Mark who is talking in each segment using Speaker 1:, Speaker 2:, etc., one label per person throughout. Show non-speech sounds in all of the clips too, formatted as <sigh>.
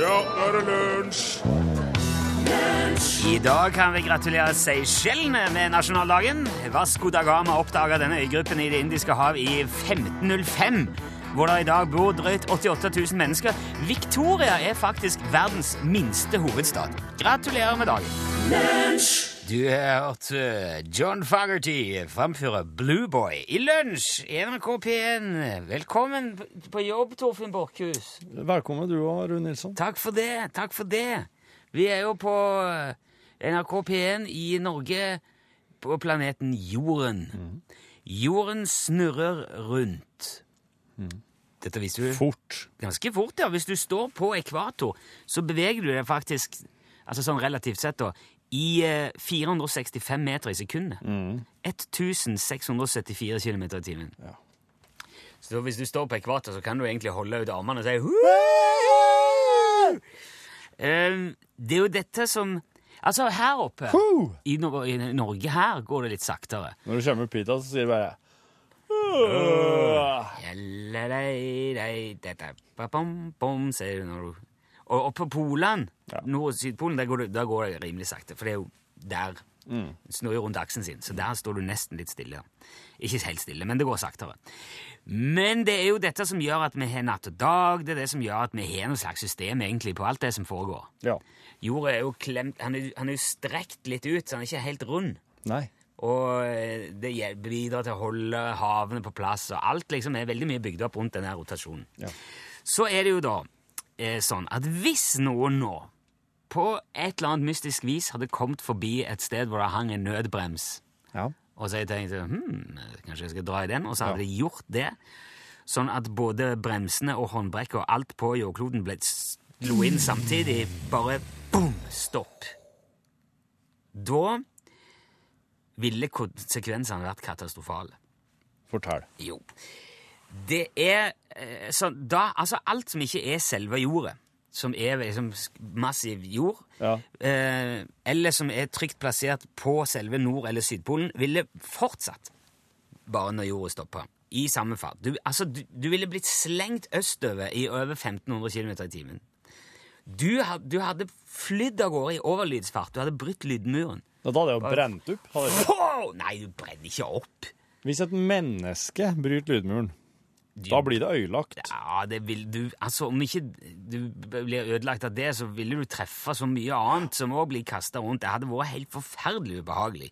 Speaker 1: Ja, nå er det lunsj!
Speaker 2: I dag kan vi gratulere Seychellene med nasjonaldagen. Vasco da Gama oppdaga denne øygruppen i Det indiske hav i 1505, hvor det i dag bor drøyt 88 000 mennesker. Victoria er faktisk verdens minste hovedstad. Gratulerer med dagen. Du har hørt eh, John Fagerty framføre Blue Boy i lunsj i NRK P1. Velkommen på jobb, Torfinn Borchhus.
Speaker 3: Velkommen du òg, Rune Nilsson.
Speaker 2: Takk for det, takk for det. Vi er jo på eh, NRK P1 i Norge, på planeten Jorden. Jorden snurrer rundt. Dette visste du
Speaker 3: Fort.
Speaker 2: ganske fort, ja. Hvis du står på ekvator, så beveger du deg faktisk, altså sånn relativt sett da, i eh, 465 meter i sekundet. 1674 km i timen.
Speaker 3: Mm. Ja.
Speaker 2: Så hvis du står på ekvator, så kan du egentlig holde ut armene og si Eh, Det er jo dette som Altså, her oppe
Speaker 3: Woo!
Speaker 2: i, Nor i Norge her går det litt saktere.
Speaker 3: Når du kommer opp hit, da, så sier du bare Øh.
Speaker 2: Bom, sier du når du Og oppe på Polen, Nord- og Sydpolen, der går, det, der går det rimelig sakte. For det er jo der. Det Snurrer rundt aksen sin, så der står du nesten litt stille. Ikke helt stille, men det går saktere. Men det er jo dette som gjør at vi har natt og dag, det er det som gjør at vi har noe slags system egentlig på alt det som foregår.
Speaker 3: Ja.
Speaker 2: Jorda er jo klemt Han er, han er jo strekt litt ut, så han er ikke helt rund.
Speaker 3: Nei.
Speaker 2: Og eh, det hjel- bidrar til å holde havene på plass, og alt liksom er veldig mye bygd opp rundt denne rotasjonen.
Speaker 3: Ja.
Speaker 2: Så er det jo da eh, sånn at hvis noen nå på et eller annet mystisk vis hadde kommet forbi et sted hvor det hang en nødbrems,
Speaker 3: Ja.
Speaker 2: og så jeg tenkte hm, kanskje jeg skal dra i den, og så hadde de gjort det, sånn at både bremsene og håndbrekket og alt på jordkloden ble slo inn samtidig, bare boom, stopp. Da ville konsekvensene vært katastrofale.
Speaker 3: Fortell.
Speaker 2: Jo. Det er eh, sånn da, Altså, alt som ikke er selve jordet, som er liksom sk- massiv jord,
Speaker 3: Ja.
Speaker 2: eh, eller som er trygt plassert på selve Nord- eller Sydpolen, ville fortsatt bare når jorda stoppa. I samme fart. Du, altså, du, du ville blitt slengt østover i over 1500 km i timen. Du, ha- du hadde flydd av gårde i overlydsfart. Du hadde brutt lydmuren.
Speaker 3: Da hadde jeg jo brent opp. Hadde jeg.
Speaker 2: Wow! Nei, du brenner ikke opp.
Speaker 3: Hvis et menneske bryter lydmuren, da blir det øyelagt.
Speaker 2: Ja, det vil du Altså, om ikke du blir ødelagt av det, så ville du treffe så mye annet som òg blir kasta rundt. Det hadde vært helt forferdelig ubehagelig.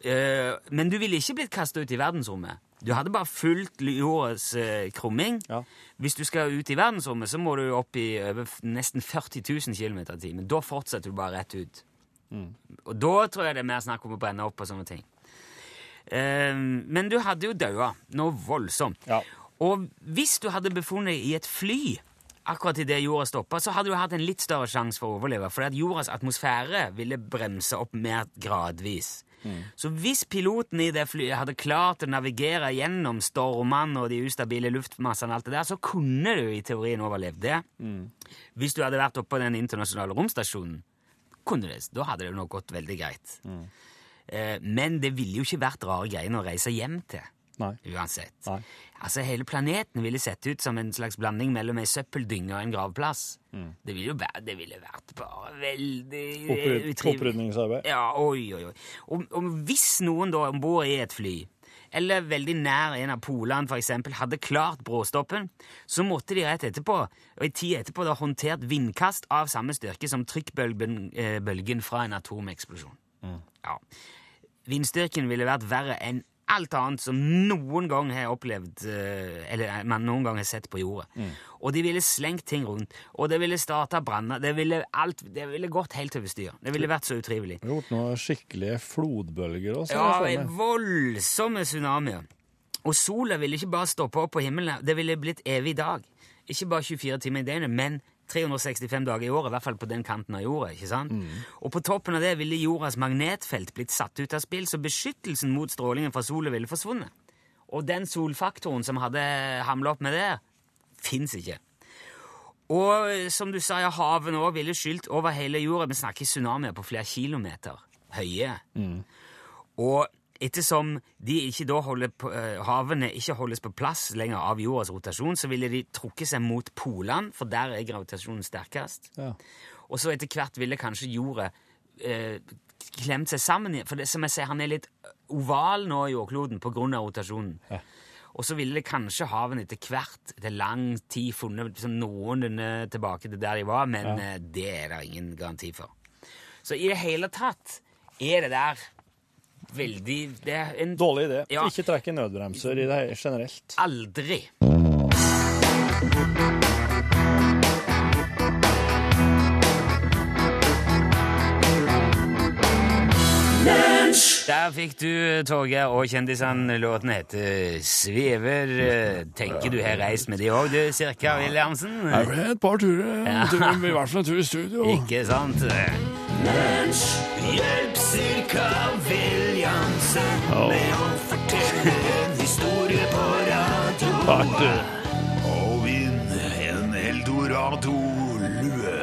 Speaker 2: Eh, men du ville ikke blitt kasta ut i verdensrommet. Du hadde bare fulgt jordas eh, krumming.
Speaker 3: Ja.
Speaker 2: Hvis du skal ut i verdensrommet, så må du opp i over f- nesten 40 000 km i timen. Da fortsetter du bare rett ut. Og da tror jeg det er mer snakk om å brenne opp og sånne ting. Eh, men du hadde jo daua noe voldsomt.
Speaker 3: Ja.
Speaker 2: Og hvis du hadde befunnet deg i et fly akkurat idet jorda stoppa, så hadde du hatt en litt større sjanse for å overleve, fordi at jordas atmosfære ville bremse opp mer gradvis. Så hvis piloten i det flyet hadde klart å navigere gjennom stormene og de ustabile luftmassene, og alt det der, så kunne du i teorien overlevd det. Hvis du hadde vært oppe på den internasjonale romstasjonen, kunne det, da hadde det nok gått veldig greit. Eh, Men det ville jo ikke vært rare greiene å reise hjem til
Speaker 3: Nei.
Speaker 2: uansett.
Speaker 3: Nei.
Speaker 2: Altså, Hele planeten ville sett ut som en slags blanding mellom ei søppeldynge og en gravplass. Det ville jo vært, det ville vært bare veldig Eh,
Speaker 3: Oppryd- Opprydningsarbeid.
Speaker 2: Ja, oi, oi, oi. Og, og hvis noen da om bord i et fly, eller veldig nær en av polene for eksempel, hadde klart bråstoppen, så måtte de rett etterpå, og i tid etterpå, da håndtert vindkast av samme styrke som trykkbølgen eh, bølgen fra en atomeksplosjon. Ja. Vindstyrken ville vært verre enn alt annet som noen gang har opplevd, eh, eller man noen gang har sett på jordet. Og de ville slengt ting rundt, og det ville starta branner, det ville alt, det ville gått helt over styr. Det ville vært så utrivelig.
Speaker 3: Vi har gjort noen skikkelige flodbølger også. sånn,
Speaker 2: Ja,
Speaker 3: jeg får med.
Speaker 2: voldsomme tsunamier. Og sola ville ikke bare stoppe opp på himmelen, det ville blitt evig dag. Ikke bare 24 timer i døgnet, men 365 dager i året, i hvert fall på den kanten av jorda. ikke sant? Og på toppen av det ville jordas magnetfelt blitt satt ut av spill, så beskyttelsen mot strålingen fra sola ville forsvunnet. Og den solfaktoren som hadde hamla opp med det, fins ikke. Og eh, som du sa, ja, havet nå ville skylt over hele jorda. Vi snakker tsunamier på flere kilometer høye. Og Ettersom de ikke da holder på, eh, havene ikke holdes på plass lenger av jordas rotasjon, så ville de trukket seg mot polene, for der er gravitasjonen sterkest.
Speaker 4: Ja.
Speaker 2: Og så etter hvert ville kanskje jordet eh, klemt seg sammen igjen. For det, som jeg sier, han er litt oval nå, jordkloden, på grunn av rotasjonen. Og så ville det kanskje havene etter hvert etter lang tid funnet liksom noenlunde tilbake til der de var, men eh, det er det ingen garanti for. Så i det hele tatt er det der veldig Det er en
Speaker 4: Dårlig idé.
Speaker 2: Ja.
Speaker 4: Ikke trekke nødbremser i det her generelt.
Speaker 2: aldri Der fikk du, Torgeir, og kjendisene. Låten heter Svever. Eh, Tenker du har reist med de òg, du, cirka, Williamsen?
Speaker 3: ble et par turer.
Speaker 2: Ja.
Speaker 3: en tur- I hvert fall en tur i <laughs> studio.
Speaker 2: Ikke sant? Hjelp cirka Williamsen med å fortelle en historie på radio.
Speaker 3: Og vinn en eldorado-lue.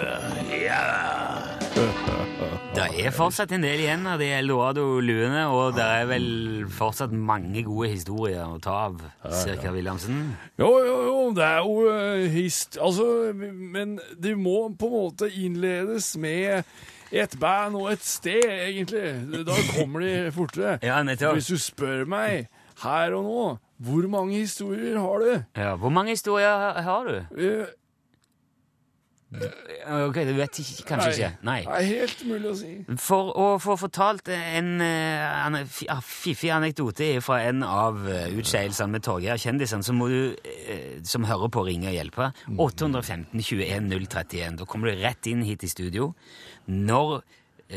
Speaker 2: Det er fortsatt en del igjen av de Eldorado-luene, og det er vel fortsatt mange gode historier å ta av, cirka Williamsen.
Speaker 3: Jo, jo, jo, det er jo eh, hist... Altså, men det må på en måte innledes med et band og et sted, egentlig. Da kommer de fortere.
Speaker 2: Ja, nettopp.
Speaker 3: Hvis du spør meg her og nå, hvor mange historier har du?
Speaker 2: Ja, hvor mange historier har du?
Speaker 3: Eh,
Speaker 2: Ok, du vet ikke, kanskje ikke. Nei.
Speaker 3: Det er helt mulig å si.
Speaker 2: For å få fortalt en eh, ane- fi- ah, fiffig anekdote fra en av eh, utskeielsene med Torgeir-kjendisen, så må du, eh, som hører på, ringe og hjelpe. 815 21 031. Da kommer du rett inn hit i studio. Når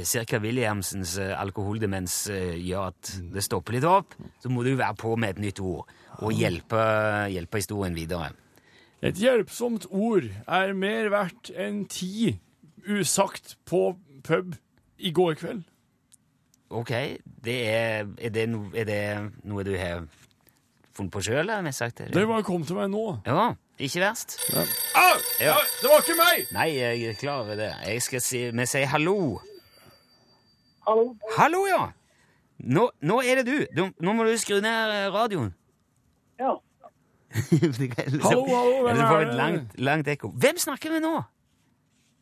Speaker 2: Cirka Williamsens eh, alkoholdemens eh, gjør at det stopper litt opp, så må du være på med et nytt ord og hjelpe, hjelpe historien videre.
Speaker 3: Et hjelpsomt ord er mer verdt enn ti usagt på pub i går kveld.
Speaker 2: Ok, det er, er, det, no, er det noe du har funnet på sjøl, har jeg sagt? eller?
Speaker 3: Det bare kom til meg nå.
Speaker 2: Ja, ikke verst.
Speaker 3: Au!
Speaker 2: Ja.
Speaker 3: Au! Det var ikke meg!
Speaker 2: Nei, jeg er klar over det. Jeg skal si, vi sier hallo.
Speaker 5: Hallo.
Speaker 2: Hallo, ja! Nå, nå er det du. du. Nå må du skru ned eh, <laughs> radioen.
Speaker 5: Ja.
Speaker 2: liksom-
Speaker 3: Hallo, hallo, hvem
Speaker 2: Eller får
Speaker 3: er
Speaker 2: et
Speaker 3: det?
Speaker 2: langt, langt ekko. Hvem snakker vi nå?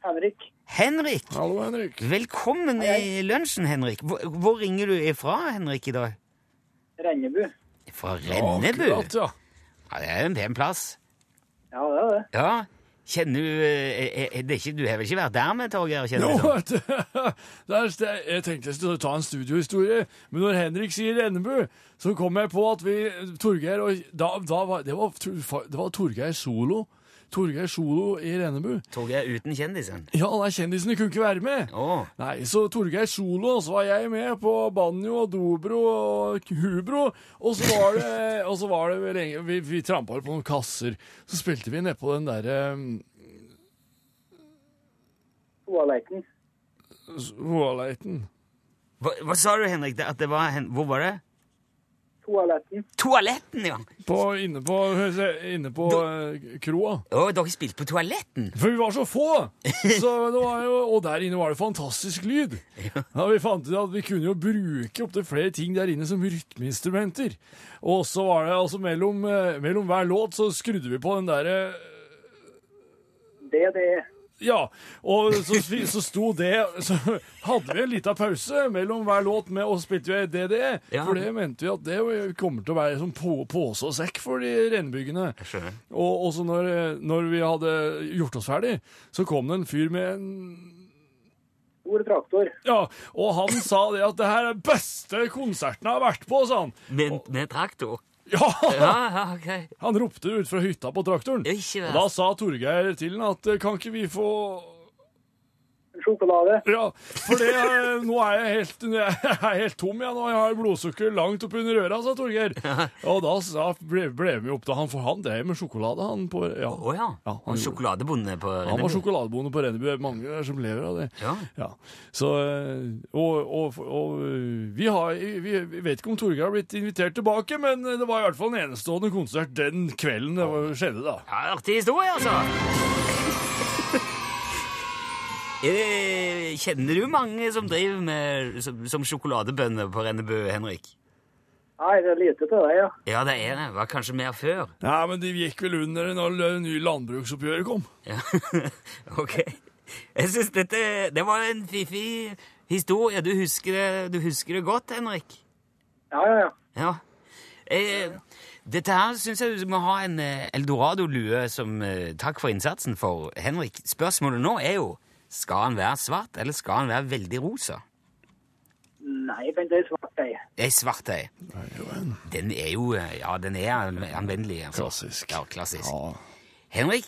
Speaker 5: Henrik.
Speaker 2: Henrik!
Speaker 3: Hallo, Henrik.
Speaker 2: Velkommen i lunsjen, Henrik. Hvor, hvor ringer du ifra, Henrik, i dag?
Speaker 5: Rennebu.
Speaker 2: Fra Rennebu?
Speaker 3: Akkurat, ja.
Speaker 2: Ja, det er en pen plass.
Speaker 5: Ja, det er det.
Speaker 2: Ja, kjenner du eh, er, er det ikke, Du har vel ikke vært der med Torgeir?
Speaker 3: Jo,
Speaker 2: kjenner du sånn?
Speaker 3: vet du. <laughs> Det er sted- Jeg tenkte jeg skulle ta en studiohistorie, men når Henrik sier Rennebu, så kom jeg på at vi Torgeir og da, da var, det, var, det var Torgeir Solo. Torgeir Solo i Rennebu.
Speaker 2: Torgeir uten kjendisen?
Speaker 3: Ja, nei, kjendisene kunne ikke være med.
Speaker 2: Å,
Speaker 3: Nei, så Torgeir Solo, og så var jeg med på banjo og dobro og hubro, og så var det, <laughs> og så var det vel lenge, vi, vi trampa vel på noen kasser, så spilte vi nedpå den eh, derre
Speaker 5: Toaleiten.
Speaker 3: Toaleiten.
Speaker 2: hva, hva sa du, Henrik? Det- At det var, hen- hvor var det?
Speaker 5: Toaletten.
Speaker 2: Toaletten, ja!
Speaker 3: På, inne på, inne på eh, kroa.
Speaker 2: Å, dere spilte på toaletten?
Speaker 3: For vi var så få! Så det var jo, og der inne var det fantastisk lyd. Ja, vi fant ut at vi kunne jo bruke opptil flere ting der inne som rytmeinstrumenter. Og så var det altså mellom, eh, mellom hver låt så skrudde vi på den eh, derre
Speaker 5: Det, det.
Speaker 3: Ja, og så, så sto det Så hadde vi en liten pause mellom hver låt med og spilte jo DD.
Speaker 2: Ja.
Speaker 3: E. For det mente vi at det kommer til å være som på, pose og sekk for de rennebyggene.
Speaker 2: skjønner.
Speaker 3: Og og så når, når vi hadde gjort oss ferdig, så kom det en fyr med en
Speaker 5: Stor traktor.
Speaker 3: Ja, og han sa det at det her er beste konserten jeg har vært på, sa han.
Speaker 2: Med, med traktor?
Speaker 3: Ja!
Speaker 2: Ja, ja, ok.
Speaker 3: Han ropte ut fra hytta på traktoren.
Speaker 2: Ikke
Speaker 3: Og da
Speaker 2: verst.
Speaker 3: sa Torgeir til han at eh, kan ikke vi få
Speaker 5: En sjokolade.
Speaker 3: Ja, for det, eh, nå er jeg helt, jeg er helt tom, jeg nå. Jeg har blodsukker langt oppunder øra, sa Torgeir. Og da sa, ble, ble vi opp da han, for han drev med sjokolade, han på Ja,
Speaker 2: Å ja.
Speaker 3: Ja, han
Speaker 2: Og
Speaker 3: gjorde det.
Speaker 2: sjokoladebonde på
Speaker 3: han var
Speaker 2: Rennebu.
Speaker 3: sjokoladebonde på Rennebu. Mange er som lever av det.
Speaker 2: Ja.
Speaker 3: Ja, så eh, Og, og, og eh, vi, har, vi, vi vet ikke om Torgeir har blitt invitert tilbake, men det var i hvert fall en enestående konsert den kvelden det var- skjedde, da.
Speaker 2: Ja, artig historie,
Speaker 3: <laughs>
Speaker 2: altså! Er det, kjenner du mange som driver med som, som sjokoladebønder på Rennebu, Henrik?
Speaker 5: Nei, det er lite til deg, ja.
Speaker 2: Ja, det er det. Var kanskje mer før.
Speaker 1: Nei, men de gikk vel under når det nye landbruksoppgjøret kom.
Speaker 2: Ja. <laughs> ok. Jeg syns dette Det var en fiffig historie. Du husker det, du husker det godt, Henrik?
Speaker 5: Ja, ja, ja.
Speaker 2: Ja. Eh, dette her syns jeg du må ha en eh, eldorado-lue som eh, takk for innsatsen for, Henrik. Spørsmålet nå er jo skal han være svart, eller skal han være veldig rosa?
Speaker 5: Nei, men det er svart, jeg.
Speaker 2: Ei svart ei. Den er jo eh, Ja, den er an- anvendelig. altså.
Speaker 1: Klassisk.
Speaker 2: Ja, klassisk. Henrik,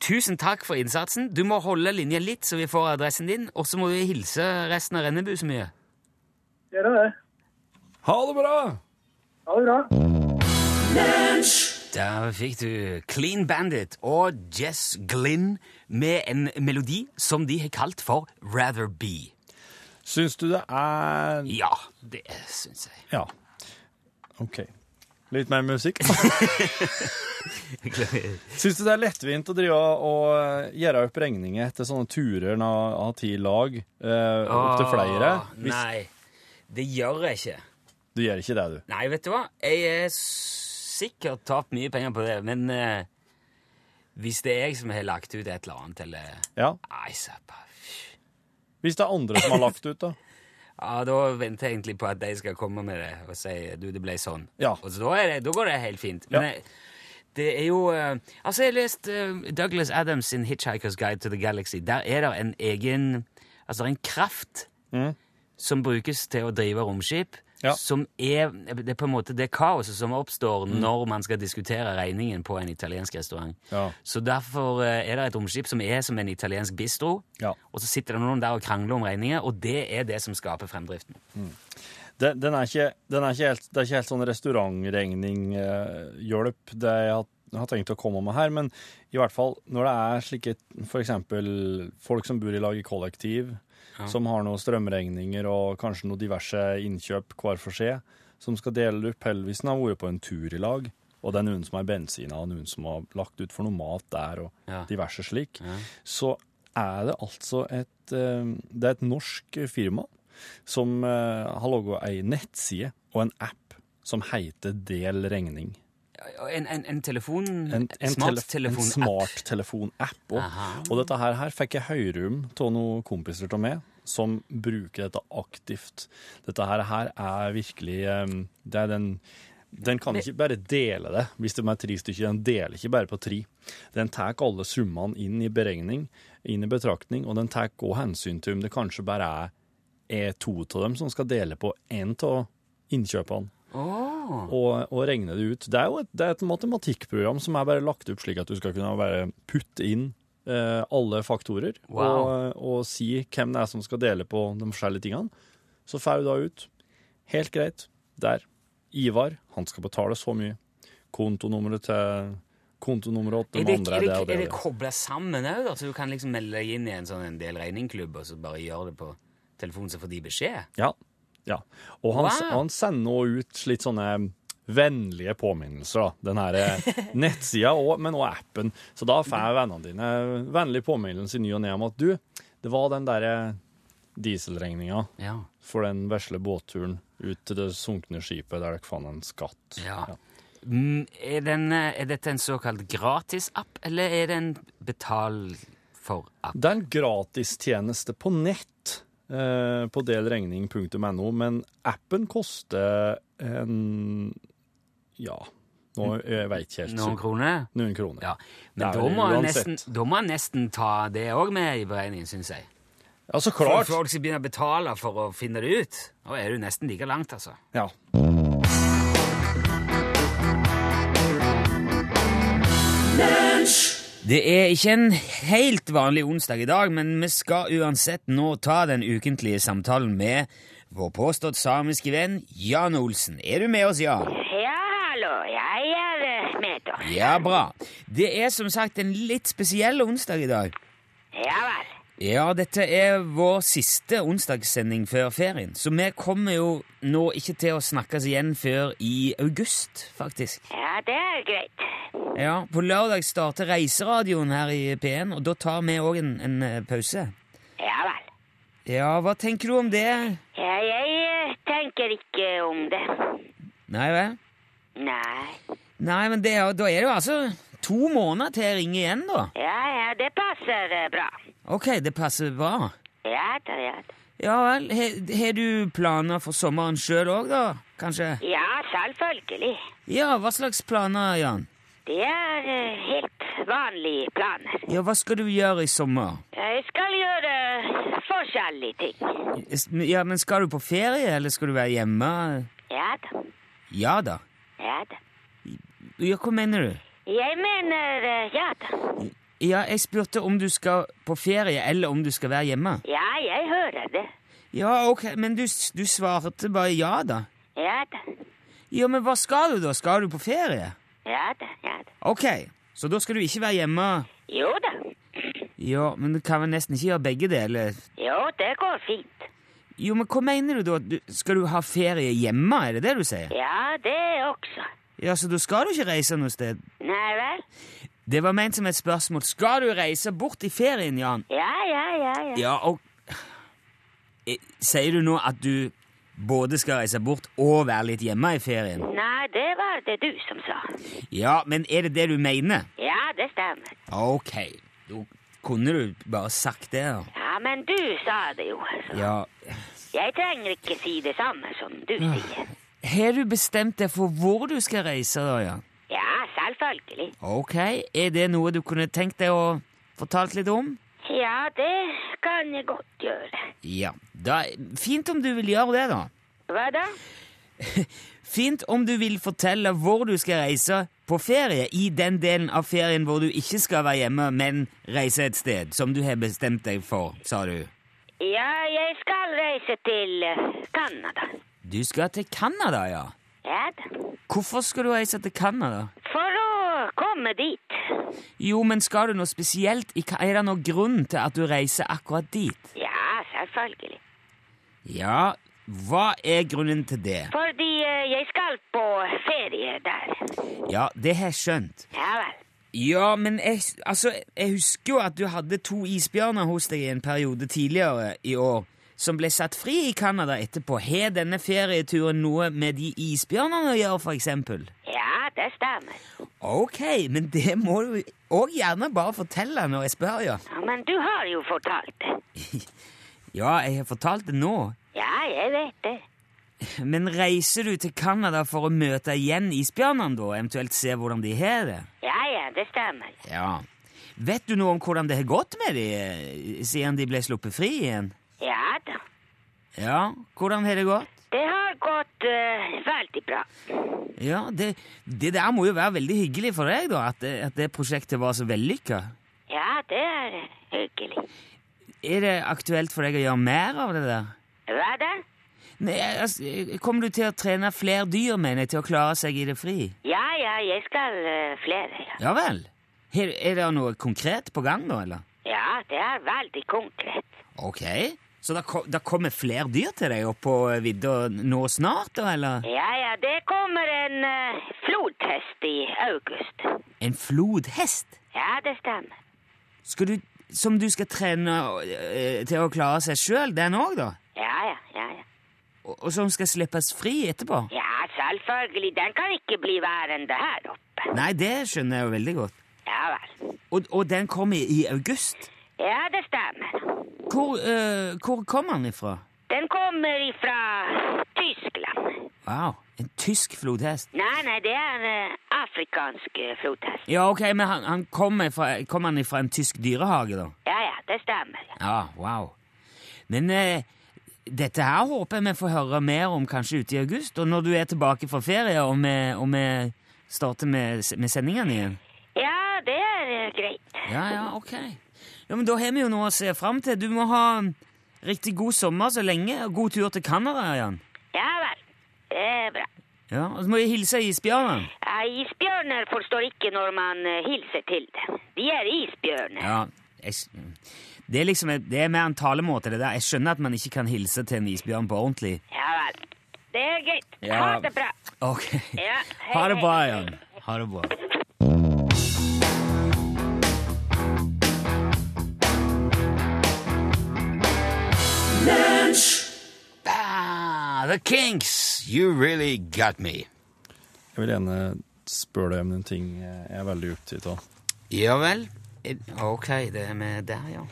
Speaker 2: tusen takk for innsatsen. Du må holde linja litt, så vi får adressen din, og så må vi hilse resten av Rennebu så mye.
Speaker 5: Gjør jeg det?
Speaker 1: Ha det bra!
Speaker 5: Ha det bra.
Speaker 2: Der fikk du Clean Bandit og Jess Glynn med en melodi som de har kalt for Rather Be.
Speaker 3: Syns du det er
Speaker 2: Ja, det syns jeg.
Speaker 3: Ja. OK. Litt mer musikk. <laughs> Syns du det er lettvint å drive og- og gjøre opp regninger etter sånne turer nå av ti lag eh, opp til flere?
Speaker 2: Åh,
Speaker 3: Hvis,
Speaker 2: Ah, Nei, det gjør jeg ikke.
Speaker 3: du gjør ikke det, du.
Speaker 2: Nei, vet du hva? Jeg er sikkert tapt mye penger på det, men eh, hvis det er jeg som har lagt ut et eller annet, eller
Speaker 3: Ja.
Speaker 2: Nei, sappa.
Speaker 3: Hvis det er andre som har lagt ut, da.
Speaker 2: Ja, da venter jeg egentlig på at de skal komme med det og si du, det ble sånn.
Speaker 3: Ja.
Speaker 2: Og så da, er det, da går det helt fint. Men
Speaker 3: Ja.
Speaker 2: jeg, det er jo eh, Altså, jeg har lest eh, Douglas Adams sin 'Hitchhiker's Guide to the Galaxy'. Der er det en egen Altså en kraft som brukes til å drive romskip,
Speaker 3: Mm. Ja.
Speaker 2: som er Det er på en måte det kaoset som oppstår
Speaker 3: Mm.
Speaker 2: når man skal diskutere regningen på en italiensk restaurant.
Speaker 3: Ja.
Speaker 2: Så derfor eh, er det et romskip som er som en italiensk bistro.
Speaker 3: Ja.
Speaker 2: Og så sitter det noen der og krangler om regninger, og det er det som skaper fremdriften.
Speaker 3: Den, den, er ikke, den er ikke helt, det er ikke helt sånn restaurantregninghjelp det jeg har, har tenkt å komme med her, men i hvert fall når det er slike for eksempel folk som bor i lag i kollektiv, som har noen strømregninger og kanskje noen diverse innkjøp hver for seg, som skal dele det opp heldigvis når de har vært på en tur i lag, og det er noen som har bensin og noen som har lagt ut for noe mat der og
Speaker 2: Ja.
Speaker 3: diverse slik, så er det altså et, eh, det er et norsk firma som eh, har laget ei nettside og en app som heter Del regning.
Speaker 2: En, en, en telefon...
Speaker 3: En, en tele- en
Speaker 2: smarttelefonapp.
Speaker 3: smarttelefonapp.
Speaker 2: Aha.
Speaker 3: Og, og dette her, her fikk jeg høre om av noen kompiser av meg som bruker dette aktivt. Dette her, her er virkelig eh, Det er den den kan ikke bare dele det, hvis de er tre stykker. Den deler ikke bare på tre. Den tar alle summene inn i beregning, inn i betraktning, og den tar også hensyn til om det kanskje bare er er to av dem som skal dele på én av innkjøpene. Og, og regne det ut. Det er jo et, det er et matematikkprogram som er bare lagt opp slik at du skal kunne bare putte inn eh, alle faktorer
Speaker 2: Wow.
Speaker 3: og, og si hvem det er som skal dele på de forskjellige tingene. Så får du da ut Helt greit. Der. Ivar, han skal betale så mye. Kontonummeret til Kontonummeret til
Speaker 2: Er
Speaker 3: de
Speaker 2: det,
Speaker 3: andre
Speaker 2: er
Speaker 3: er
Speaker 2: det,
Speaker 3: det og det.
Speaker 2: er det
Speaker 3: og det.
Speaker 2: koblet sammen òg, da? Så du kan liksom melde deg inn i en sånn en del regningklubb, og så bare gjøre det på telefonen, så får de beskjed?
Speaker 3: Ja. ja. Og han,
Speaker 2: Wow.
Speaker 3: han sender også ut litt sånne vennlige påminnelser, da. Den
Speaker 2: <laughs>
Speaker 3: her eh, nettsida òg, men også appen. Så da får vennene dine vennlig påminnelse i ny og ne om at du, det var den derre dieselregninga
Speaker 2: Ja.
Speaker 3: for den vesle båtturen ut til det sunkne skipet der dere fant en skatt.
Speaker 2: ja. Mm, Er, den, eh, er dette en såkalt gratisapp, eller er det en betal for-app?
Speaker 3: Det er en gratistjeneste på nett eh, på delregning.no, men appen koster en Ja, nå jeg vet ikke helt.
Speaker 2: Noen
Speaker 3: sikkert.
Speaker 2: kroner?
Speaker 3: Noen kroner.
Speaker 2: Ja.
Speaker 3: Det
Speaker 2: Men
Speaker 3: er
Speaker 2: da
Speaker 3: vel
Speaker 2: må en
Speaker 3: uansett.
Speaker 2: nesten, da må en nesten ta det òg med i beregningen, syns jeg.
Speaker 3: Ja, så
Speaker 2: For
Speaker 3: klart.
Speaker 2: folk skal begynne å betale for å finne det ut. Nå er du nesten like langt, altså.
Speaker 3: Ja.
Speaker 2: Det er ikke en helt vanlig onsdag i dag, men vi skal uansett nå ta den ukentlige samtalen med vår påstått samiske venn Jan Olsen. Er du med oss, Jan?
Speaker 6: Ja, hallo. Jeg er eh, med dere.
Speaker 2: Ja, bra. Det er som sagt en litt spesiell onsdag i dag.
Speaker 6: Ja vel.
Speaker 2: Ja, dette er vår siste onsdagssending før ferien, så vi kommer jo nå ikke til å snakkes igjen før i august, faktisk.
Speaker 6: Ja, det er greit.
Speaker 2: Ja, På lørdag starter reiseradioen her i P1, og da tar vi òg en, en eh, pause.
Speaker 6: Ja vel.
Speaker 2: Ja, hva tenker du om det?
Speaker 6: Ja, jeg eh, tenker ikke om det.
Speaker 2: Nei vel?
Speaker 6: Nei.
Speaker 2: Nei, men det, er jo- da er det jo altså to måneder til jeg ringer igjen, da.
Speaker 6: Ja, ja, det passer eh, bra.
Speaker 2: Ok, det passer bra.
Speaker 6: Ja da, ja da.
Speaker 2: Ja vel. He- Har du planer for sommeren sjøl òg, da? Kanskje?
Speaker 6: Ja, selvfølgelig.
Speaker 2: Ja, hva slags planer, Jan?
Speaker 6: Det er eh, helt vanlige planer.
Speaker 2: Ja, hva skal du gjøre i sommer?
Speaker 6: Jeg skal gjøre eh, forskjellige ting.
Speaker 2: Ja, men skal du på ferie, eller skal du være hjemme?
Speaker 6: Ja da,
Speaker 2: Ja da.
Speaker 6: ja da.
Speaker 2: Ja, hva mener du?
Speaker 6: Jeg mener eh, ja da.
Speaker 2: Ja, jeg spurte om du skal på ferie, eller om du skal være hjemme.
Speaker 6: Ja, jeg hører det.
Speaker 2: Ja, ok, men du, s- du svarte bare ja, da.
Speaker 6: Ja da,
Speaker 2: Ja, men hva skal du, da? Skal du på ferie?
Speaker 6: ja da, ja da.
Speaker 2: Ok, så da skal du ikke være hjemme.
Speaker 6: Jo da,
Speaker 2: Ja, men du kan vel nesten ikke gjøre begge deler.
Speaker 6: jo det går fint.
Speaker 2: Jo, men hva mener du da? Du, skal du ha ferie hjemme, er det det du sier?
Speaker 6: Ja, det også.
Speaker 2: Ja, så da skal du ikke reise noe sted.
Speaker 6: Nei vel?
Speaker 2: Det var ment som et spørsmål. Skal du reise bort i ferien, Jan?
Speaker 6: Ja, ja, ja, ja.
Speaker 2: Ja, og... Eh, Sier du nå at du både skal reise bort og være litt hjemme i ferien?
Speaker 6: Nei, det var det du som sa.
Speaker 2: Ja, men er det det du mener?
Speaker 6: Ja, det stemmer.
Speaker 2: Ok, da kunne du bare sagt det da.
Speaker 6: Ja, men du sa det jo. så
Speaker 2: Ja,
Speaker 6: Jeg trenger ikke si det samme som du sier.
Speaker 2: har du bestemt deg for hvor du skal reise da, Jan?
Speaker 6: Ja, selvfølgelig.
Speaker 2: Ok, er det noe du kunne tenkt deg å fortalt litt om?
Speaker 6: Ja, det kan jeg godt gjøre.
Speaker 2: Ja, da, fint om du vil gjøre det da.
Speaker 6: Hva da?
Speaker 2: Fint om du vil fortelle hvor du skal reise på ferie, i den delen av ferien hvor du ikke skal være hjemme, men reise et sted, som du har bestemt deg for, sa du.
Speaker 6: Ja, jeg skal reise til eh, Canada.
Speaker 2: Du skal til Kanada, ja.
Speaker 6: Ja da.
Speaker 2: Hvorfor skal du reise til Kanada?
Speaker 6: For å komme dit.
Speaker 2: Jo, men skal du noe spesielt? i Ka- Er det noen grunn til at du reiser akkurat dit?
Speaker 6: Ja, selvfølgelig.
Speaker 2: Ja, hva er grunnen til det?
Speaker 6: Fordi eh, jeg skal på ferie der.
Speaker 2: Ja, det har jeg skjønt.
Speaker 6: Ja vel.
Speaker 2: Ja, men jeg, altså, jeg husker jo at du hadde to isbjørner hos deg i en periode tidligere i år, som ble satt fri i Canada etterpå. Har denne ferieturen noe med de isbjørnene å gjøre, for eksempel?
Speaker 6: Ja, det stemmer.
Speaker 2: Ok, men det må du òg gjerne bare fortelle når jeg spør, ja.
Speaker 6: Ja, men du har jo fortalt det.
Speaker 2: Ja, jeg har fortalt det nå.
Speaker 6: Ja, jeg vet det.
Speaker 2: Men reiser du til Canada for å møte igjen isbjørnene, da? Eventuelt se hvordan de har det?
Speaker 6: Ja, ja, det stemmer.
Speaker 2: Ja. Vet du noe om hvordan det har gått med de eh, siden de ble sluppet fri igjen?
Speaker 6: Ja da.
Speaker 2: Ja, hvordan har det gått?
Speaker 6: Det har gått eh, veldig bra.
Speaker 2: Ja, det, det der må jo være veldig hyggelig for deg, da, at det, at det prosjektet var så vellykka.
Speaker 6: Ja, det er eh, hyggelig.
Speaker 2: Er det aktuelt for deg å gjøre mer av det der?
Speaker 6: Hva da?
Speaker 2: Nei, altså, Kommer du til å trene flere dyr, mener jeg, til å klare seg i det fri?
Speaker 6: Ja, ja, jeg skal eh, flere, ja.
Speaker 2: Ja vel. Er, er det noe konkret på gang, da, eller?
Speaker 6: Ja, det er veldig konkret.
Speaker 2: Ok. Så da, ko- da kommer flere dyr til deg opp på vidda nå snart, da, eller?
Speaker 6: Ja, ja, det kommer en eh, flodhest i august.
Speaker 2: En flodhest?
Speaker 6: Ja, det stemmer.
Speaker 2: Skal du, som du skal trene eh, til å klare seg sjøl, den òg, da?
Speaker 6: Ja, ja, ja, ja.
Speaker 2: Og, og som skal slippes fri etterpå?
Speaker 6: Ja, selvfølgelig, den kan ikke bli værende her oppe.
Speaker 2: Nei, det skjønner jeg jo veldig godt.
Speaker 6: Ja vel.
Speaker 2: Og, og den kommer i august?
Speaker 6: Ja, det stemmer.
Speaker 2: Hvor, eh, hvor kommer den ifra?
Speaker 6: Den kommer ifra Tyskland.
Speaker 2: Wow, en tysk flodhest.
Speaker 6: Nei, nei, det er en eh, afrikansk eh, flodhest.
Speaker 2: Ja, ok, men han, han kommer ifra- kommer han ifra en tysk dyrehage, da?
Speaker 6: Ja, ja, det stemmer. ja.
Speaker 2: Ja, wow. Men eh, dette her håper jeg vi får høre mer om kanskje ute i august, og når du er tilbake fra ferie og vi, og vi starter med, med sendingene igjen.
Speaker 6: Ja, det er eh, greit.
Speaker 2: Ja, ja, ok. Ja, men da har vi jo noe å se fram til. Du må ha riktig god sommer så lenge, og god tur til Canada, Jan.
Speaker 6: Ja vel. Det er bra.
Speaker 2: Ja, og så må vi hilse isbjørnen.
Speaker 6: Ja, Isbjørner forstår ikke når man eh, hilser til dem. De er isbjørner.
Speaker 2: Ja, jeg, s- det er liksom, det er mer en talemåte det der. Jeg skjønner at man ikke kan hilse til en isbjørn på ordentlig.
Speaker 6: Ja vel. Det er greit.
Speaker 2: Ja.
Speaker 6: Ha det bra.
Speaker 2: Ok.
Speaker 6: Ja, hei,
Speaker 2: Ha det
Speaker 6: hei.
Speaker 2: bra, Jan. Ha det bra. Ah, the Kinks, you really got me.
Speaker 3: Jeg vil gjerne spørre deg om noen ting jeg er veldig opptatt av.
Speaker 2: Ja vel. Eh, Ok, det er med der, ja.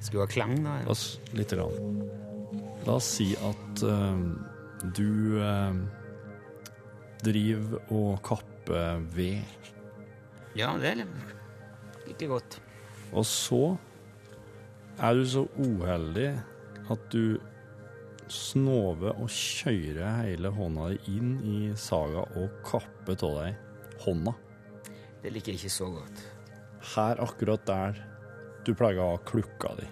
Speaker 2: Skulle ha klang, da.
Speaker 3: La
Speaker 2: Ja.
Speaker 3: oss litt grann. La oss si at eh, du eh, driver og kapper ved,
Speaker 2: ja, det er like godt.
Speaker 3: og så er du så uheldig at du snover og kjører hele hånda di inn i saga og kapper av deg hånda.
Speaker 2: Det liker jeg ikke så godt.
Speaker 3: her akkurat der du pleier å ha klukka di.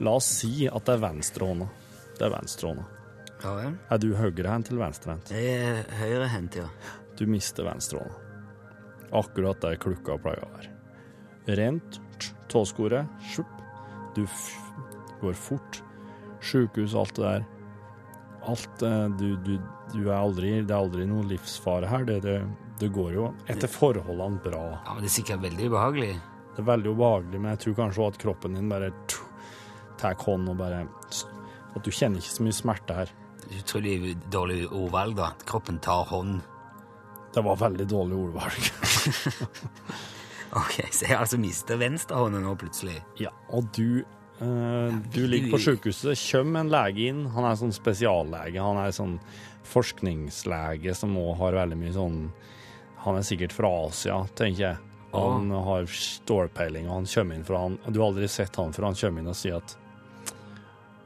Speaker 3: La oss si at det er venstrehånda. Det er venstrehånda.
Speaker 2: Ja vel.
Speaker 3: Er du høyrehendt eller venstrehendt?
Speaker 2: Det er høyrehendt, ja.
Speaker 3: Du mister venstrehånda. Akkurat der klukka pleier å være. Rent tsk, tåskoret, sjupp. Du f går fort. Sjukehus, alt det der. Alt eh, du, du, du er aldri Det er aldri noen livsfare her. Det, det, det går jo etter forholdene bra.
Speaker 2: Ja, men Det er sikkert veldig ubehagelig.
Speaker 3: Det er veldig ubehagelig, men jeg tror kanskje også at kroppen din bare tsk, tar hånd og bare tsk, At du kjenner ikke så mye smerte her.
Speaker 2: Utrolig dårlig ordvalg, da. Kroppen tar hånd.
Speaker 3: Det var veldig dårlig ordvalg.
Speaker 2: Ok, Så jeg altså mister venstrehånda nå plutselig?
Speaker 3: Ja, og du eh, Du ligger på sjukehuset, det kommer en lege inn. Han er sånn spesiallege. Han er sånn forskningslege som også har veldig mye sånn Han er sikkert fra Asia, tenker jeg. Han har stålpeiling, og han kommer inn fra han Du har aldri sett han før. Han kommer inn og sier at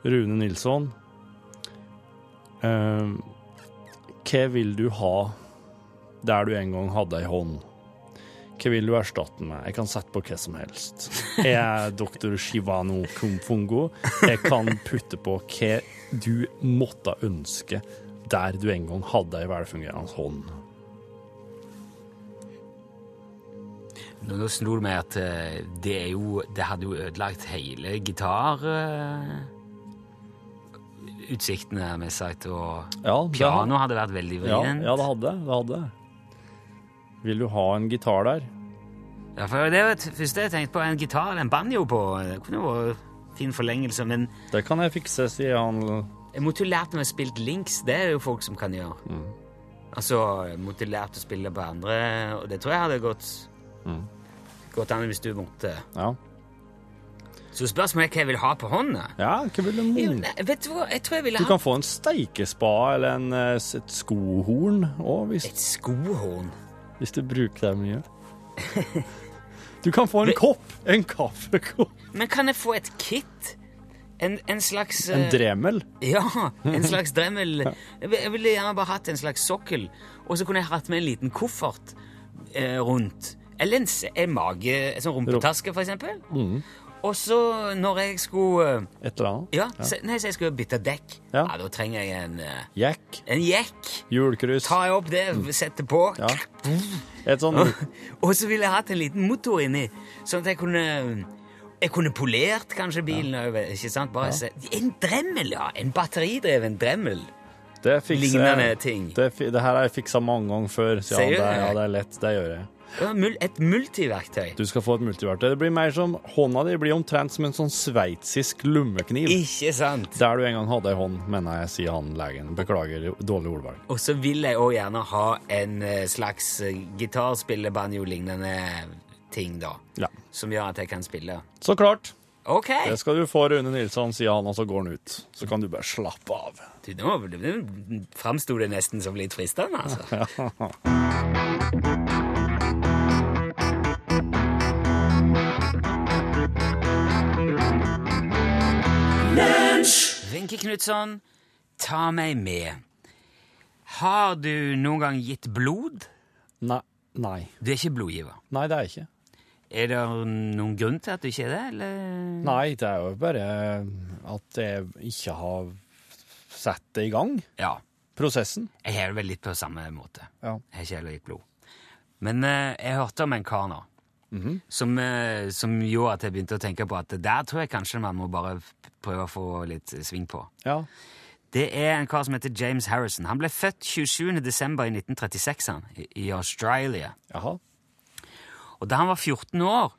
Speaker 3: Rune Nilsson eh, Hva vil du ha der du en gang hadde ei hånd? Hva vil du erstatte med? Jeg kan sette på hva som helst. Jeg <laughs> er doktor Shivano Kumfungo. Jeg kan putte på hva du måtte ønske der du en gang hadde ei velfungerende hånd.
Speaker 2: Nå, nå slo det meg at eh, det er jo Det hadde jo ødelagt hele gitar... eh, utsiktene, har vi sagt, og
Speaker 3: Ja, det
Speaker 2: piano hadde vært veldig
Speaker 3: Ja,
Speaker 2: vrient.
Speaker 3: ja, det hadde jeg, det. hadde jeg. Vil du ha en gitar der?
Speaker 2: Ja, for det var det første jeg tenkte på. En gitar eller en banjo på. Det kunne jo vært fin forlengelse, men
Speaker 3: Det kan jeg fikse, sier han.
Speaker 2: jeg måtte jo lært meg å spille links. Det er det jo folk som kan gjøre.
Speaker 3: Mm.
Speaker 2: Altså, jeg måtte lært å spille på andre, og det tror jeg hadde gått
Speaker 3: Mm.
Speaker 2: gått an hvis du måtte.
Speaker 3: Ja,
Speaker 2: Så spørsmålet er hva jeg vil ha på hånda.
Speaker 3: ja hva vil du
Speaker 2: Jo,
Speaker 3: måle?
Speaker 2: nei, vet du hva, jeg tror jeg ville
Speaker 3: Du
Speaker 2: ha
Speaker 3: kan få en steikespa eller en, eh, et skohorn òg, hvis,
Speaker 2: et skohorn.
Speaker 3: hvis du bruker det
Speaker 2: <laughs>
Speaker 3: mye. Du kan få en kopp! En kaffekopp.
Speaker 2: Men kan jeg få et kit? En, en slags
Speaker 3: En
Speaker 2: eh,
Speaker 3: dremel?
Speaker 2: <laughs> Ja, en slags dremmel. Jeg vil- jeg ville gjerne bare hatt en slags sokkel, og så kunne jeg hatt med en liten koffert eh, rundt. Eller en, s- en mage, en sånn rumpetaske, for eksempel.
Speaker 3: Mm.
Speaker 2: Og så når jeg skulle eh,
Speaker 3: Et eller annet?
Speaker 2: Ja, se- nei, så jeg skulle bytte dekk. Ja.
Speaker 3: Ja.
Speaker 2: da trenger jeg en, eh,
Speaker 3: Jack?
Speaker 2: en jekk.
Speaker 3: Hjulkrus?
Speaker 2: Tar jeg opp det, setter på,
Speaker 3: Ja. Et sånn
Speaker 2: <laughs> og så ville jeg hatt en liten motor inni, sånn at jeg kunne jeg kunne polert kanskje bilen over, ikke sant? Bare se. En dremmel, ja! En batteridreven dremmel.
Speaker 3: det fikser,
Speaker 2: Lignende ting.
Speaker 3: Det, fi- det her har jeg fiksa mange ganger før. sier han.
Speaker 2: Sier du
Speaker 3: det,
Speaker 2: det?
Speaker 3: ja, det er lett. Det gjør jeg.
Speaker 2: Ja, mul- Et multiverktøy.
Speaker 3: Du skal få et multiverktøy. Det blir mer som Hånda di blir omtrent som en sånn sveitsisk lommekniv.
Speaker 2: Ikke sant?
Speaker 3: Der du en gang hadde ei hånd, mener jeg, sier han legen. Beklager dårlig ordvalg.
Speaker 2: Og så vil jeg òg gjerne ha en eh, slags eh, gitarspille-banjo-lignende ting, da.
Speaker 3: Ja.
Speaker 2: Som gjør at jeg kan spille.
Speaker 3: Så klart.
Speaker 2: OK!
Speaker 3: Det skal du få, Rune Nilsson, sier han, og så går han ut. Så kan du bare slappe av.
Speaker 2: Du, nå nå framsto det nesten som litt fristende, altså. Wenche Knutson, ta meg med. Har du noen gang gitt blod?
Speaker 3: Nei. Nei.
Speaker 2: Du er ikke blodgiver.
Speaker 3: Nei, det er jeg ikke.
Speaker 2: Er det noen grunn til at du ikke er det, eller?
Speaker 3: Nei, det er jo bare at jeg ikke har satt det i gang.
Speaker 2: Ja.
Speaker 3: Prosessen.
Speaker 2: Jeg har det vel litt på samme måte.
Speaker 3: Ja.
Speaker 2: Jeg har ikke heller gitt blod. Men eh, jeg hørte om en kar nå
Speaker 3: Mhm.
Speaker 2: som, eh, som gjorde at jeg begynte å tenke på at der tror jeg kanskje man må bare p- prøve å få litt eh, sving på.
Speaker 3: Ja.
Speaker 2: Det er en kar som heter James Harrison. Han ble født 27. desember i 1936 han, i- i Australia.
Speaker 3: Jaha.
Speaker 2: Og da han var 14 år,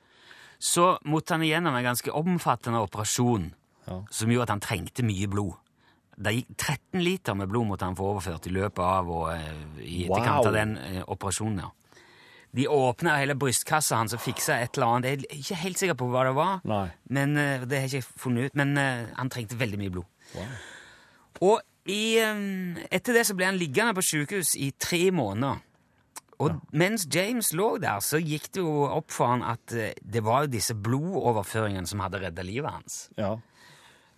Speaker 2: så måtte han igjennom en ganske omfattende operasjon
Speaker 3: Ja.
Speaker 2: som gjorde at han trengte mye blod. Det gikk 13 liter med blodmåtte han få overført i løpet av og eh, i etterkant
Speaker 3: Wow.
Speaker 2: av den eh, operasjonen. ja. De åpna hele brystkassa hans og fiksa et eller annet. Jeg er ikke helt sikker på hva det var,
Speaker 3: Nei.
Speaker 2: men eh, det har jeg ikke funnet ut. Men eh, han trengte veldig mye blod. Og i, eh, etter det så ble han liggende på sykehus i tre måneder. Og mens James lå der, så gikk det jo opp for han at eh, det var jo disse blodoverføringene som hadde redda livet hans.
Speaker 3: Ja.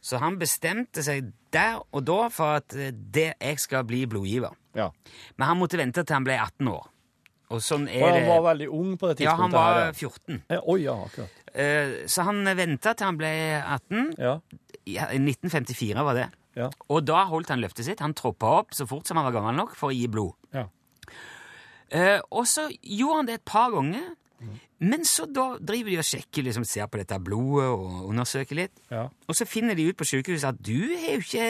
Speaker 2: Så han bestemte seg der og da for at eh, det, jeg skal bli blodgiver.
Speaker 3: ja.
Speaker 2: Men han måtte vente til han ble 18 år. Og sånn
Speaker 3: Og
Speaker 2: er
Speaker 3: han var
Speaker 2: det.
Speaker 3: veldig ung på det tidspunktet.
Speaker 2: Ja, han var
Speaker 3: her,
Speaker 2: 14.
Speaker 3: ja. Oi, ja, akkurat.
Speaker 2: Eh, Så han venta til han ble 18.
Speaker 3: Ja.
Speaker 2: Ja, 1954 var det.
Speaker 3: Ja.
Speaker 2: Og da holdt han løftet sitt. Han troppa opp så fort som han var gammel nok for å gi blod.
Speaker 3: Ja.
Speaker 2: Eh, og så gjorde han det et par ganger.
Speaker 3: Mm.
Speaker 2: Men så da driver de og sjekker, liksom, ser på dette blodet og undersøker litt.
Speaker 3: Ja.
Speaker 2: Og så finner de ut på sykehuset at du er jo ikke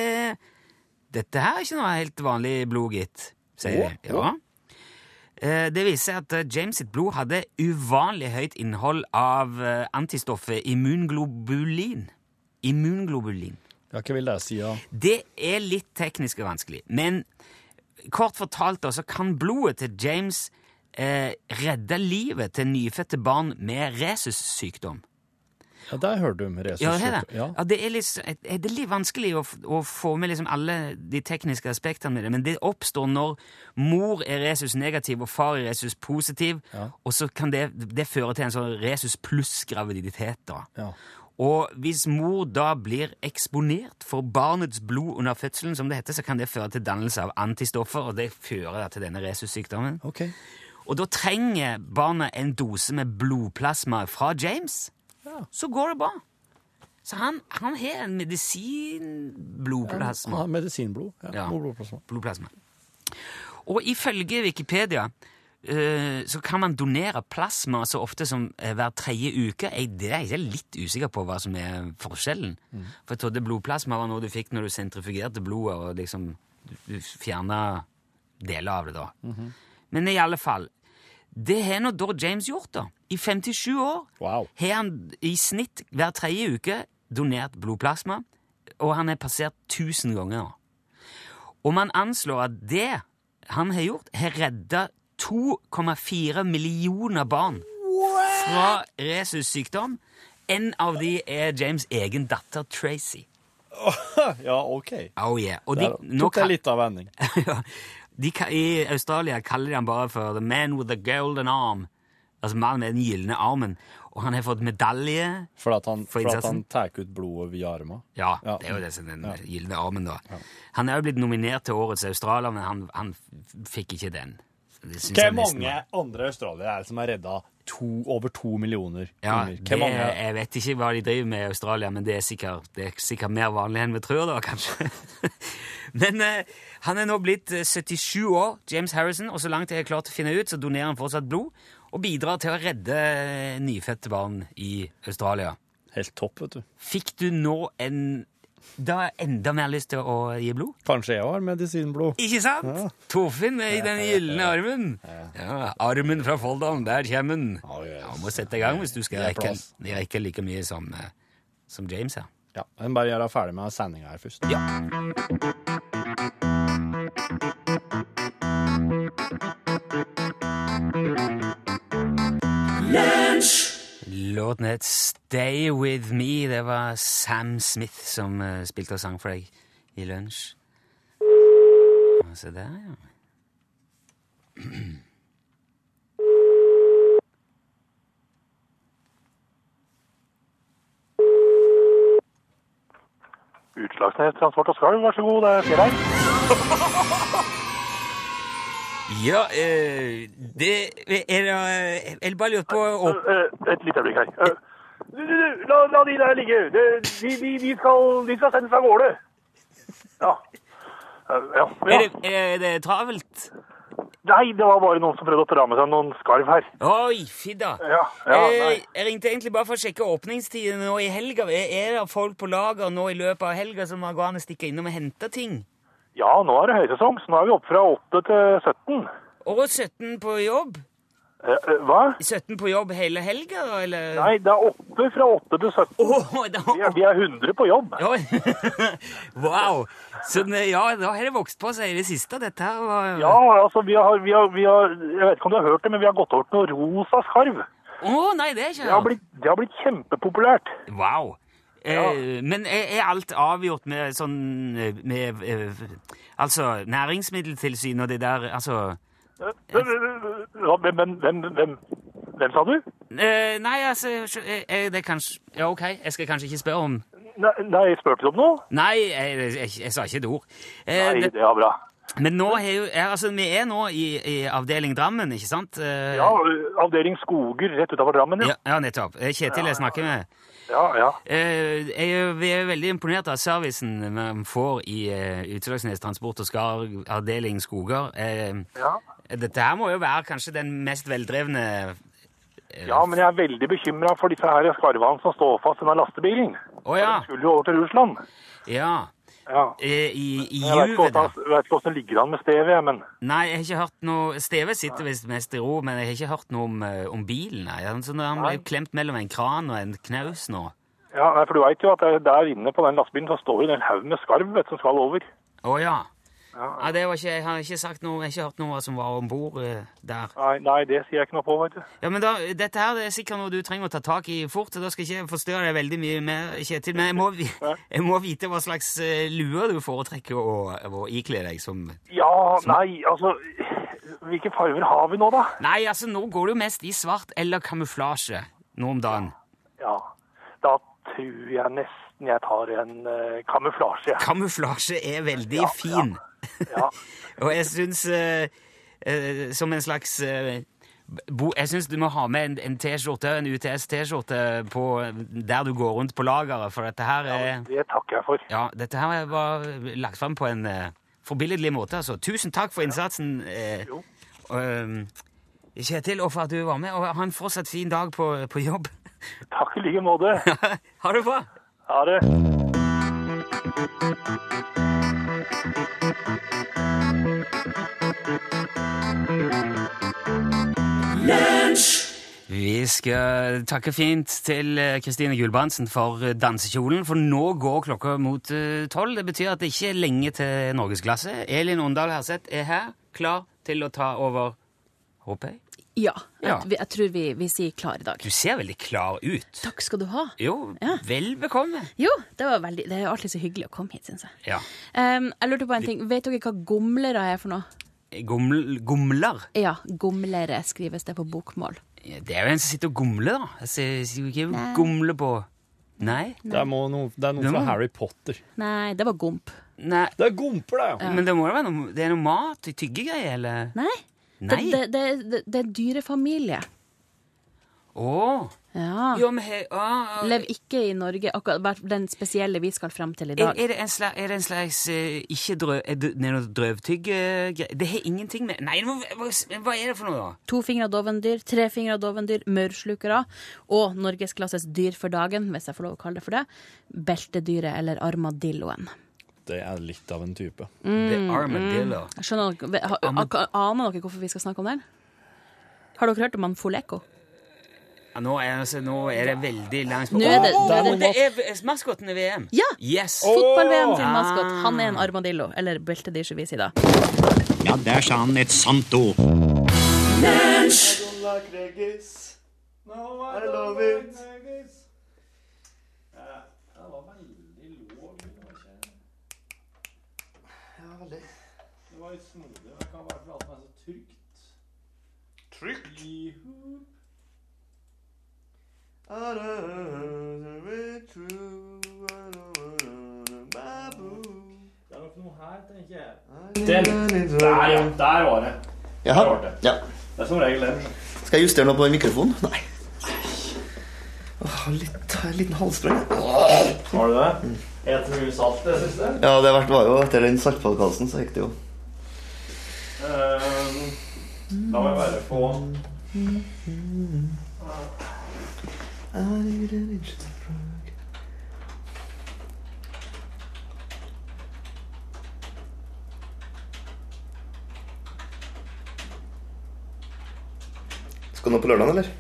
Speaker 2: Dette her er ikke noe helt vanlig blod, gitt, sier de.
Speaker 3: Å,
Speaker 2: Ja. Eh, Det viser seg at eh, James sitt blod hadde uvanlig høyt innhold av eh, antistoffet immunglobulin. Immunglobulin.
Speaker 3: ja, hva vil det si, da?
Speaker 2: Det er litt teknisk og vanskelig, men kort fortalt da, så kan blodet til James eh, redde livet til nyfødte barn med rhesussykdom.
Speaker 3: Ja, der hørte du om resus.
Speaker 2: Ja, det er det.
Speaker 3: Ja.
Speaker 2: Ja, det, er litt, er det litt vanskelig å, f- å få med liksom alle de tekniske aspektene med det, men det oppstår når mor er resus negativ og far er resus positiv,
Speaker 3: Ja.
Speaker 2: og så kan det, det føre til en sånn resus pluss graviditet. da.
Speaker 3: Ja.
Speaker 2: Og hvis mor da blir eksponert for barnets blod under fødselen, som det heter, så kan det føre til dannelse av antistoffer, og det fører da til denne resussykdommen.
Speaker 3: Ok.
Speaker 2: Og da trenger barnet en dose med blodplasma fra James. Så går det bra. Så han, han har en medisinblodplasma.
Speaker 3: Ja, medisinblod. Ja.
Speaker 2: Ja.
Speaker 3: og blodplasma.
Speaker 2: Blodplasma. Og ifølge Wikipedia eh, så kan man donere plasma så ofte som eh, hver tredje uke. Jeg, det er jeg litt usikker på hva som er forskjellen. For jeg trodde blodplasma var noe du fikk når du sentrifugerte blodet og liksom du, du fjerna deler av det, da. Men i alle fall Det har nå da James gjort, da. I 57 år
Speaker 3: Wow.
Speaker 2: har han i snitt hver tredje uke donert blodplasma, og han er passert 1000 ganger. nå. Og man anslår at det han har gjort, har redda 2,4 millioner barn fra resus-sykdom. En av de er James' egen datter Tracy.
Speaker 3: Ah, Ja, ok.
Speaker 2: Oh yeah. Og de,
Speaker 3: Der
Speaker 2: nå
Speaker 3: tok jeg
Speaker 2: kan,
Speaker 3: litt av vending.
Speaker 2: <laughs> ja, de kan, I Australia kaller de han bare for The Man with the Golden Arm. Altså mannen med den gylne armen. Og han har fått medalje.
Speaker 3: For at han,
Speaker 2: For
Speaker 3: for at han
Speaker 2: innsatsen.
Speaker 3: tar ut blodet via armen.
Speaker 2: Ja,
Speaker 3: Ja.
Speaker 2: det er jo det som er den gylne armen, da. Han er jo blitt nominert til Årets australier, men han, han f- fikk ikke den. Det synes
Speaker 3: Hvor
Speaker 2: jeg nesten
Speaker 3: mange
Speaker 2: var-
Speaker 3: andre australiere er det som er redda to, over to millioner
Speaker 2: Ja,
Speaker 3: kroner?
Speaker 2: det,
Speaker 3: Hvor mange?
Speaker 2: jeg vet ikke hva de driver med i Australia, men det er sikkert, det er sikkert mer vanlig enn vi tror, da, kanskje. <laughs> men eh, han er nå blitt eh, 77 år, James Harrison, og så langt jeg har klart å finne ut, så donerer han fortsatt blod og bidrar til å redde eh, nyfødte barn i Australia.
Speaker 3: Helt topp, vet du.
Speaker 2: Fikk du nå en Da har jeg enda mer lyst til å gi blod?
Speaker 3: Kanskje jeg har medisinblod.
Speaker 2: Ikke sant? Torfinn med i den gylne armen. Ja, Armen fra Folldalen, der kommer den.
Speaker 3: Oh, yes.
Speaker 2: Ja, må sette i gang hvis du skal
Speaker 3: Det er
Speaker 2: rekke,
Speaker 3: plass.
Speaker 2: rekke like mye som, eh, som James her.
Speaker 3: Ja, men bare gjør jeg ferdig med sendinga her først. Ja.
Speaker 2: Låten het Stay With Me. Det var Sam Smith som eh, spilte og sang for deg i lunsj. Ja, Se der, ja.
Speaker 7: Utslagsnes Transport og Skalv, vær så god, det er Fjelleid.
Speaker 2: Ja, eh, det er da eh, Jeg bare lurte på opp...
Speaker 7: Eh, Et lite øyeblikk her. Eh, du, du, du, La, la de der ligge. De, de, de, de, skal, de skal sendes av gårde. Ja. Eh, Ja. ja.
Speaker 2: Er det, er det travelt?
Speaker 7: Nei, det var bare noen som prøvde å dra med seg noen skarv her.
Speaker 2: Oi, fidda!
Speaker 7: Ja, ja, nei.
Speaker 2: Eh, jeg ringte egentlig bare for å sjekke åpningstiden nå i helga. Er, er det folk på lager nå i løpet av helga som går an å stikke innom og hente ting?
Speaker 7: Ja, nå er det høysesong, så nå er vi oppe fra 8 til 17.
Speaker 2: Og 17 på jobb?
Speaker 7: Eh, eh, Hva?
Speaker 2: 17 på jobb hele helga, eller?
Speaker 7: Nei, det er åtte fra åtte til 17.
Speaker 2: Åh, da,
Speaker 7: Vi er,
Speaker 2: <laughs>
Speaker 7: vi er 100 på jobb.
Speaker 2: Ja. <laughs> wow! Så det- ja, da har det vokst på seg i det siste. Dette her var
Speaker 7: Ja, altså, vi har, vi har, vi har Jeg vet ikke om du har hørt det, men vi har gått over til noe rosa skarv.
Speaker 2: Å, nei, det er ikke
Speaker 7: Det har blitt, det har blitt kjempepopulært.
Speaker 2: Wow! Eh, men er er alt avgjort med sånn eh, med, eh, Altså Næringsmiddeltilsynet og det der Altså
Speaker 7: Ja, Hvem, hvem, hvem, hvem, hvem sa du?
Speaker 2: eh, Nei, altså sjø- eh, eh, Det er kanskje Ja, OK, jeg skal kanskje ikke spørre om
Speaker 7: Nei, nei spurte du om noe?
Speaker 2: Nei, jeg, jeg, jeg, jeg sa ikke et ord. Eh,
Speaker 7: Nei,
Speaker 2: det-
Speaker 7: det var bra.
Speaker 2: men nå er jo er, Altså, vi er nå i, i avdeling Drammen, ikke sant? Eh,
Speaker 7: Ja, avdeling Skoger rett utenfor Drammen,
Speaker 2: ja,
Speaker 7: ja.
Speaker 2: ja, nettopp. Eh, Kjetil jeg snakker med.
Speaker 7: Ja, ja.
Speaker 2: Eh, jeg, er- vi er veldig imponert av servicen man får i uh, Utslagsnes Transport og Skar avdeling Skoger. Eh,
Speaker 7: Ja.
Speaker 2: Dette her må jo være kanskje den mest veldrevne eh,
Speaker 7: ja, men jeg er veldig bekymra for disse her skarvene som står fast i denne lastebilen.
Speaker 2: Å ja.
Speaker 7: De skulle jo over til Russland.
Speaker 2: ja.
Speaker 7: Ja.
Speaker 2: Eh, I, i
Speaker 7: Jeg vet ikke
Speaker 2: juvet, da.
Speaker 7: hvordan- jeg vet ikke hvordan det ligger an med stevet, men
Speaker 2: Nei, jeg har ikke hørt noe Steve sitter visst mest i ro, men jeg har ikke hørt noe om, eh, om bilen. Nei. Han- Så han ble
Speaker 7: Nei.
Speaker 2: klemt mellom en kran og en knaus nå.
Speaker 7: ja, nei, for du veit jo at det er der inne på den lastebilen så står det en haug med skarv vet, du, som skal over.
Speaker 2: Å ja.
Speaker 7: Ja.
Speaker 2: Ja, det var ikke, jeg har ikke sagt noe, jeg har ikke hørt noe som var om bord eh, der.
Speaker 7: Nei, nei, det sier jeg ikke noe på, vet du.
Speaker 2: Ja, men da, Dette her det er sikkert noe du trenger å ta tak i fort. og Da skal ikke jeg forstyrre deg veldig mye mer, Kjetil. Men jeg må, vi- <laughs> jeg må vite hva slags eh, lue du foretrekker å, å ikle deg som
Speaker 7: Ja, nei, altså Hvilke farger har vi nå, da?
Speaker 2: Nei, altså, nå går du mest i svart eller kamuflasje nå om dagen.
Speaker 7: Ja, da tror jeg nesten jeg tar en eh, kamuflasje. jeg.
Speaker 2: Kamuflasje er veldig
Speaker 7: Ja,
Speaker 2: fin.
Speaker 7: Ja.
Speaker 2: <laughs> og jeg syns eh, eh, Som en slags eh, bo, Jeg syns du må ha med en, en T-skjorte, en UTS-T-skjorte, på- der du går rundt på lageret, for dette her er
Speaker 7: Det takker jeg for.
Speaker 2: Ja, dette her var lagt frem på en uh, forbilledlig måte, altså. Tusen takk for innsatsen, eh,
Speaker 7: Jo.
Speaker 2: og, eh, Kjetil, og for at du var med. Og ha en fortsatt fin dag på, på jobb. <laughs>
Speaker 7: Takk i like måte.
Speaker 2: ha det bra!
Speaker 7: Ha det.
Speaker 2: Vi skal takke fint til eh, Kristine Gulbrandsen for eh, dansekjolen, for nå går klokka mot eh, tolv. Det betyr at det ikke er lenge til norgesklasse. Elin Ondal Herseth er her, klar til å ta over, håper jeg.
Speaker 8: Ja.
Speaker 2: Ja.
Speaker 8: Jeg, jeg tror vi, vi sier klar i dag.
Speaker 2: Du ser veldig klar ut.
Speaker 8: Takk skal du ha.
Speaker 2: Jo,
Speaker 8: Ja.
Speaker 2: vel bekomme.
Speaker 8: Jo, det, var veldig, det er jo alltid så hyggelig å komme hit, syns jeg.
Speaker 2: Ja.
Speaker 8: Em, jeg lurte på en ting. Vet dere hva gomlere er for noe?
Speaker 2: Goml gomler.
Speaker 8: Ja, gomlere skrives det på bokmål.
Speaker 2: Ja, Det er jo en som sitter og gomler, da. Jeg ser- jeg sier jo ikke gomle på Nei?
Speaker 3: Det er, må noe, det er noe
Speaker 2: Det må-
Speaker 3: fra Harry Potter.
Speaker 8: Nei, det var gomp.
Speaker 2: Nei.
Speaker 3: Det er gomper, det, ja.
Speaker 2: Men det må jo være noe, det er noe mat i tyggegreier, eller?
Speaker 8: Nei.
Speaker 2: Nei?
Speaker 8: Det, det, det, det er dyrefamilie.
Speaker 2: Å!
Speaker 8: Ja.
Speaker 2: Jo, men he, å, å.
Speaker 8: Lev ikke i Norge, akkurat bare den spesielle vi skal fram til i
Speaker 2: Er,
Speaker 8: dag.
Speaker 2: er, det en slags, er det en slags eh, ikke drøv... Er det, det er noe drøvtygg-greie? Det har ingenting med Nei, hva, hva, hva er det for noe, da?
Speaker 8: Tofingra dovendyr, trefingra dovendyr, maurslukere og norgesklasses dyr for dagen, hvis jeg får lov å kalle det for det, beltedyret eller armadilloen.
Speaker 3: Det er litt av en type.
Speaker 8: Mm,
Speaker 2: The armadillo.
Speaker 8: Skjønner dere, ha, ak- Aner dere hvorfor vi skal snakke om den? Har dere hørt om han Foleko?
Speaker 2: Ja, nå, er, altså, nå er det veldig langt
Speaker 8: Nå er det-
Speaker 2: Å,
Speaker 8: nå er det-
Speaker 2: det er v- maskotten i VM!
Speaker 8: Ja.
Speaker 2: Yes!
Speaker 8: Fotball-VM sin
Speaker 2: Ah.
Speaker 8: maskot. Han er en armadillo, eller beltedyr, som vi sier da.
Speaker 9: Ja, der sa han et sant ord.
Speaker 3: Der, ja. Der var det.
Speaker 10: Jaha.
Speaker 3: det.
Speaker 10: Ja.
Speaker 3: Det er som regel den.
Speaker 10: Skal jeg justere noe på den mikrofonen? Nei. Åh, litt, en liten halsbrønn.
Speaker 3: Har du det? Et mye salt, det siste.
Speaker 10: Ja, det verste var jo etter den saltpodkasten, så gikk det jo.
Speaker 3: Ehm, La meg bare få
Speaker 10: Skål. Skal du nå på lørdag, eller?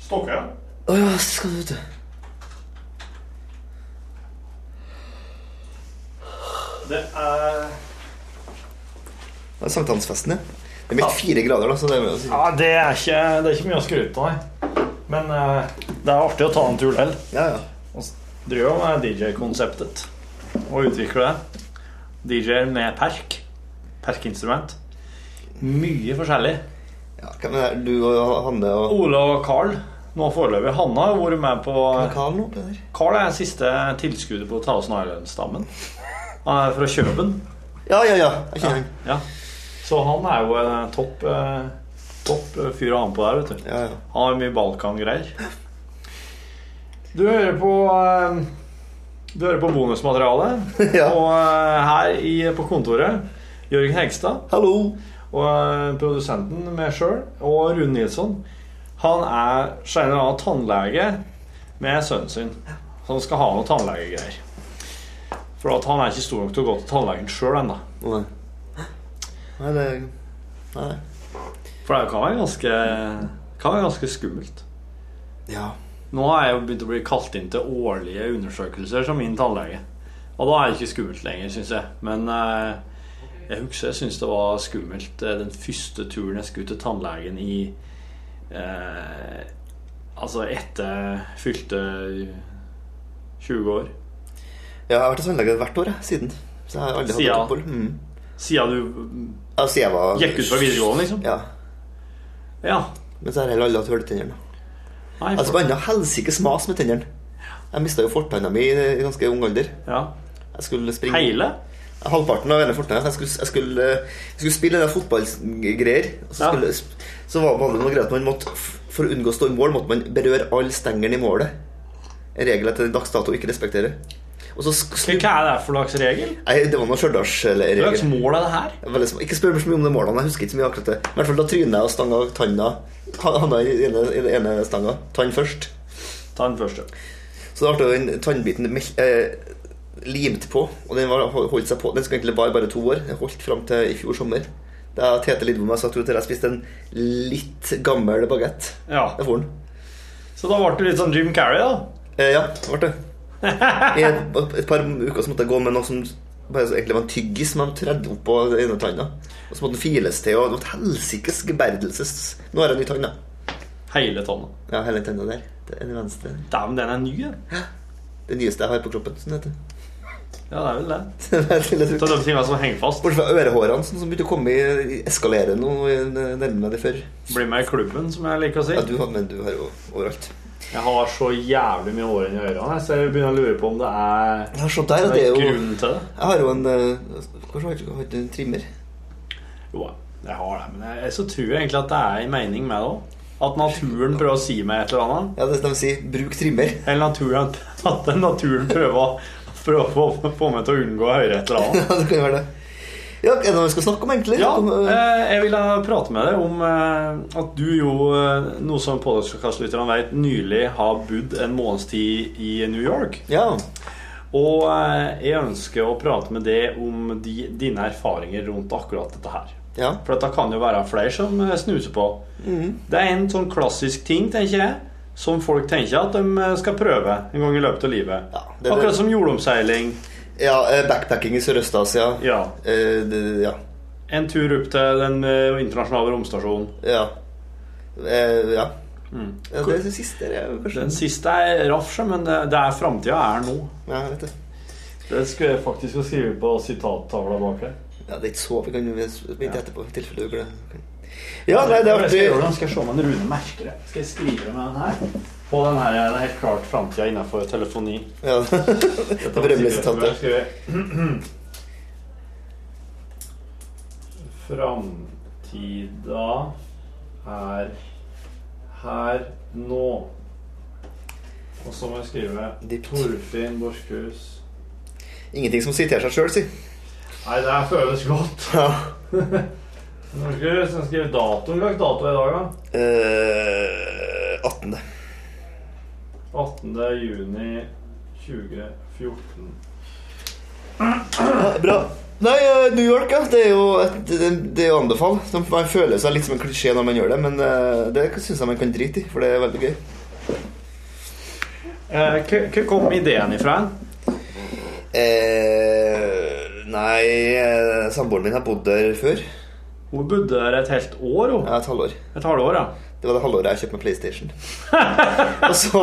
Speaker 11: Stokke.
Speaker 10: Å ja, skal du, vet du.
Speaker 11: Det er
Speaker 10: Det er sankthansfesten, ja. Det er blitt fire grader, da, så det er jo
Speaker 3: Ja, det er ikke, det er ikke mye å skryte av, nei. men eh, det er artig å ta en tur til.
Speaker 10: Ja, ja.
Speaker 3: Vi driver jo med DJ-konseptet og utvikler det. DJ-er med perk. Perkinstrument. Mye forskjellig.
Speaker 10: Ja, hvem er det? Du og Hanne og
Speaker 3: Ole og Carl nå foreløpig. Hanna har vært med på
Speaker 10: Carl nå? Peder?
Speaker 3: Carl er siste tilskuddet på Thousand Island-stammen. Han er fra Kjøben.
Speaker 10: Ja, ja, ja. Jeg kjenner han.
Speaker 3: Ja. Så han er jo en topp, eh, topp eh, fyr å ha med på der, vet du.
Speaker 10: Ja, ja.
Speaker 3: Han har mye Balkan-greier. Du hører på eh, Du hører på bonusmaterialet.
Speaker 10: <laughs> Ja.
Speaker 3: Og eh, her i, på kontoret Jørgen Hegstad
Speaker 10: Hallo.
Speaker 3: og eh, produsenten meg sjøl og Rune Nilsson. Han er senere da tannlege med sønnen sin, som skal ha noe tannlegegreier. For at han er ikke stor nok til å gå til tannlegen sjøl ennå.
Speaker 10: Nei. Nei, det Nei.
Speaker 3: For det kan være ganske, kan være ganske skummelt.
Speaker 10: Ja.
Speaker 3: Nå har jeg jo begynt å bli kalt inn til årlige undersøkelser som min tannlege. Og da er det ikke skummelt lenger, syns jeg. Men eh, jeg husker jeg syntes det var skummelt eh, den første turen jeg skulle til tannlegen i eh, Altså etter fylte 20 år.
Speaker 10: Ja, jeg har vært hos tannlegen hvert år jeg, siden. Så jeg har aldri hatt
Speaker 3: Siden?
Speaker 10: et opphold. Mm.
Speaker 3: Siden du
Speaker 10: Ja, siden jeg var
Speaker 3: gikk ut fra videregående, liksom?
Speaker 10: Ja.
Speaker 3: Ja.
Speaker 10: Men så har jeg heller aldri hatt hull i tennene.
Speaker 3: Nei,
Speaker 10: Altså,
Speaker 3: for,
Speaker 10: behandla helsikes mas med tennene. Jeg mista jo fortanna mi i i ganske ung alder.
Speaker 3: ja.
Speaker 10: Jeg skulle springe
Speaker 3: Hele?
Speaker 10: Halvparten av hele fortnøyet. Jeg skulle, jeg skulle, jeg skulle spille det der fotballgreier. og Så,
Speaker 3: Ja.
Speaker 10: skulle, så var var det noe greit at man måtte, for å unngå å stå i mål, måtte man berøre all stengeren i målet. En regel jeg til dags dato ikke respekterer. Og så sk- snu-
Speaker 3: Hva er det for slags regel?
Speaker 10: Nei, det var noe
Speaker 3: Hva slags
Speaker 10: stjørdalsregel.
Speaker 3: mål er det her?
Speaker 10: Veldig små- Ikke spør meg så mye om de målene. Jeg husker ikke så mye akkurat det. I hvert fall da tryna jeg og stanga tanna <laughs> Havna i den ene- i den ene stanga. Tann først.
Speaker 3: Ta den første.
Speaker 10: Så da ble den tannbiten mel- eh, limt på, og den var, holdt seg på. Den skulle egentlig bare, bare to år. Den holdt fram til i fjor sommer. Da Tete Lidbom og jeg satt ut der jeg spiste en litt gammel bagett.
Speaker 3: Ja.
Speaker 10: Der for den.
Speaker 3: Så da ble du litt sånn Jim Carrey, da.
Speaker 10: Eh, ja, det ble det. I et, et par uker så måtte jeg gå med noe som bare, egentlig var en tyggis som de tredde opp på den ene tanna. Og så måtte den files til, og det var et helsikes geberdelses Nå har jeg en ny tann, da.
Speaker 3: Hele tanna.
Speaker 10: Ja, hele tanna der. Den venstre.
Speaker 3: Dæven, den er ny, den.
Speaker 10: Det nyeste jeg har på kroppen. Sånn heter <laughs> det.
Speaker 3: Ja, det er vel det.
Speaker 10: Det er et lille trykk.
Speaker 3: Så de tingene som henger fast,
Speaker 10: Bortsett fra ørehårene sånn, som begynte å komme i eskalere nå i nærmere det før.
Speaker 3: blir med i klubben, som jeg liker å si.
Speaker 10: Ja, du har, men du har jo overalt.
Speaker 3: Jeg har så jævlig mye hår inni ørene, så jeg begynner å lure på om det er,
Speaker 10: Ja, se der,
Speaker 3: det
Speaker 10: ja, det
Speaker 3: er
Speaker 10: er jo
Speaker 3: grunnen til det.
Speaker 10: Jeg har jo en eh, Hvorfor har du ikke hatt en trimmer?
Speaker 3: Jo, jeg har det, men jeg, så tror jeg egentlig at det er en mening med det òg. At naturen prøver å si meg et eller annet.
Speaker 10: Ja, det de sier. Bruk trimmer.
Speaker 3: Eller naturen, at naturen prøver å prøver å få- få meg til å unngå å høre et eller annet.
Speaker 10: Ja, det kan jo være det. Ja, er det noe vi skal snakke om, egentlig?
Speaker 3: Ja,
Speaker 10: Om, eh,
Speaker 3: eh, jeg ville prate med deg om eh, at du jo, eh, noe som podkastlytterne vet, nylig har bodd en måneds tid i New York.
Speaker 10: ja.
Speaker 3: Og eh, jeg ønsker å prate med deg om de, dine erfaringer rundt akkurat dette her.
Speaker 10: ja. Mhm.
Speaker 3: For dette kan jo være flere som eh, snuser på. Det er en sånn klassisk ting, tenker jeg, som folk tenker at de eh, skal prøve en gang i løpet av livet.
Speaker 10: Ja, det er det.
Speaker 3: akkurat som jordomseiling.
Speaker 10: ja eh, backpacking i Sørøst-Asia.
Speaker 3: Ja.
Speaker 10: Eh, det- ja.
Speaker 3: En tur opp til den eh, internasjonale romstasjonen.
Speaker 10: Ja. Eh, ja.
Speaker 3: Mm.
Speaker 10: ja. Det er det siste, det er jo kanskje.
Speaker 3: Den siste er raff, sjø, men det det er framtida er nå.
Speaker 10: Ja, jeg vet det.
Speaker 3: Det skulle jeg faktisk skrive på sitattavla bak her.
Speaker 10: Ja, det er ikke så Vi kan jo vente etterpå i tilfelle du glemmer. Ja, nei, det
Speaker 3: Skal
Speaker 10: er
Speaker 3: jeg
Speaker 10: artig.
Speaker 3: gjøre det? Skal jeg se om en Rune merker det? Skal jeg skrive med den her? På den her er det helt klart framtida innenfor telefoni.
Speaker 10: <laughs> Ja. Det berømmelige sitatet.
Speaker 3: <clears throat> Framtida er her nå. Og så må jeg skrive
Speaker 10: Dypt.
Speaker 3: Torfinn Borchhus.
Speaker 10: Ingenting som siterer seg sjøl, si.
Speaker 3: Nei, det her føles godt.
Speaker 10: Ja.
Speaker 3: <laughs> Borchhus, jeg skriver datoen. Hva slags dato er i dag, da?
Speaker 10: Eh, 18.
Speaker 3: 18. juni 2014.
Speaker 10: Ja, bra. Nei, eh, New York, ja. Det er jo et, det, det er å anbefale. Så Man føler seg litt som en klisjé når man gjør det, men eh, det syns jeg man kan drite i, for det er veldig gøy.
Speaker 3: Hvor Eh, kom ideen ifra?
Speaker 10: Eh, nei, eh, samboeren min har bodd der før.
Speaker 3: Hun bodde der et helt år? Hun.
Speaker 10: Ja, et halvår.
Speaker 3: Et halvår, ja.
Speaker 10: Det var det halvåret jeg kjøpte meg PlayStation. <laughs> og så,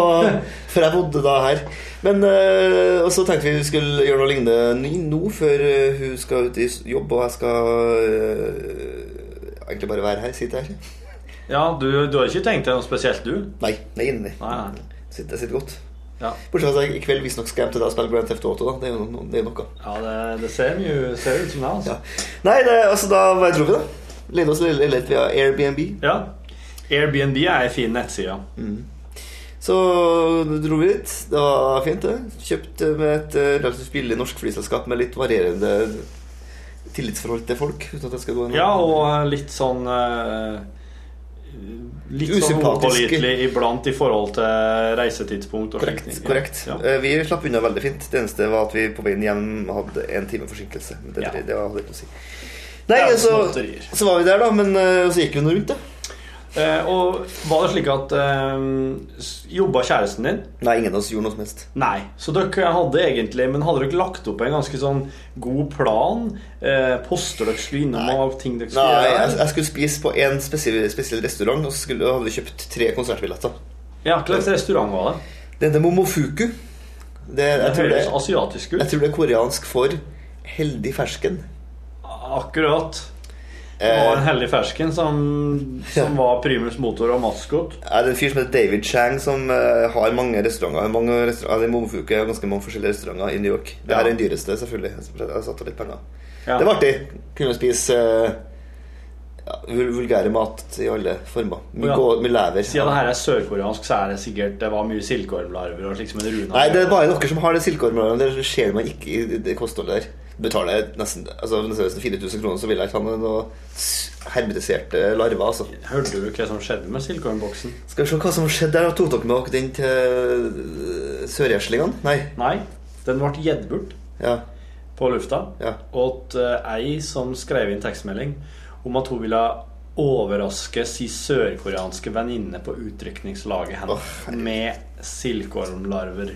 Speaker 10: For jeg bodde da her. Men, eh, og så tenkte vi vi skulle gjøre noe lignende ny nå, før eh, hun skal ut i s- jobb, og jeg skal eh, egentlig bare være her. Sitte her.
Speaker 3: Ja, du, du har ikke tenkt deg noe spesielt, du?
Speaker 10: Nei. Nei, nei. Sitter, jeg sitter godt. Bortsett fra at jeg i kveld visstnok skal hjem til deg og spille Grand Theft Auto. Da. Det er jo no, det er jo noe.
Speaker 3: Ja, det, det ser mye ser ut som det, altså.
Speaker 10: Nei, det, altså, da hva tror vi, da? Leide oss leilighet via Airbnb.
Speaker 3: Ja. Airbnb er ei fin nettside.
Speaker 10: Så dro vi dit. Det var fint, det. Kjøpt med et eh, relativt billig norsk flyselskap med litt varierende tillitsforhold til folk. Uten at jeg skal gå inn
Speaker 3: Ja, og litt sånn eh, Litt sånn
Speaker 10: Usympatiske.
Speaker 3: upålitelig iblant i forhold til reisetidspunkt. og
Speaker 10: Korrekt.
Speaker 3: slikt.
Speaker 10: korrekt Eh, Vi slapp unna veldig fint. Det eneste var at vi på veien hjem hadde en time forsinkelse. Men det, det var- hadde ikke noe å si. Nei,
Speaker 3: Ja,
Speaker 10: så,
Speaker 3: småtterier.
Speaker 10: så var vi der, da. Men eh, så gikk vi nå rundt, da.
Speaker 3: Eh, og var det slik at eh, s- jobba kjæresten din?
Speaker 10: Nei, ingen av oss gjorde noe som helst.
Speaker 3: Nei, Så dere hadde egentlig Men hadde dere lagt opp en ganske sånn god plan? Eh, poster dere skulle innom og ting dere skulle
Speaker 10: Nei, jeg,
Speaker 3: gjøre?
Speaker 10: jeg skulle spise på en spesiell, spesiell restaurant, og så skulle, hadde vi kjøpt tre konsertbilletter.
Speaker 3: Ja, Hva slags restaurant var det?
Speaker 10: Det heter Momofuku. Det, jeg
Speaker 3: Det
Speaker 10: tror
Speaker 3: høres asiatisk ut.
Speaker 10: Jeg tror det er koreansk for heldig fersken. Eh,
Speaker 3: Akkurat. Det var en hellig fersken som, som var primus motor og maskot.
Speaker 10: Ja, det er en fyr som heter David Chang, som eh, har mange restauranter. Mange restauranter eller Momofuku er ganske mange forskjellige restauranter i New York. Det her er den dyreste, selvfølgelig. Jeg har satt av litt penger.
Speaker 3: Ja.
Speaker 10: Det var artig. Kunne spise eh, ja, vul- vulgære mat i alle former. Mye,
Speaker 3: Ja.
Speaker 10: gå- mye lever.
Speaker 3: Siden det her er sørkoreansk, så er det sikkert det var mye silkeormlarver og slik som en rune.
Speaker 10: Nei, det er bare dere som har det silkeormlaget. Det ser man ikke i det kostholdet der. Betaler jeg nesten, altså, nesten 4000 kroner, så vil jeg ikke ha noen hermetiserte larver. Altså.
Speaker 3: Hørte du hva som skjedde med silkeormboksen?
Speaker 10: Skal vi se hva som skjedde der. Tok dere med dere den til øh, sørgjæslingene? Nei.
Speaker 3: Nei, den ble gjedburt
Speaker 10: Ja.
Speaker 3: på lufta.
Speaker 10: Ja.
Speaker 3: Og at eh, ei som skrev inn tekstmelding om at hun ville overraske si sørkoreanske venninne på utrykningslaget hennes med silkeormlarver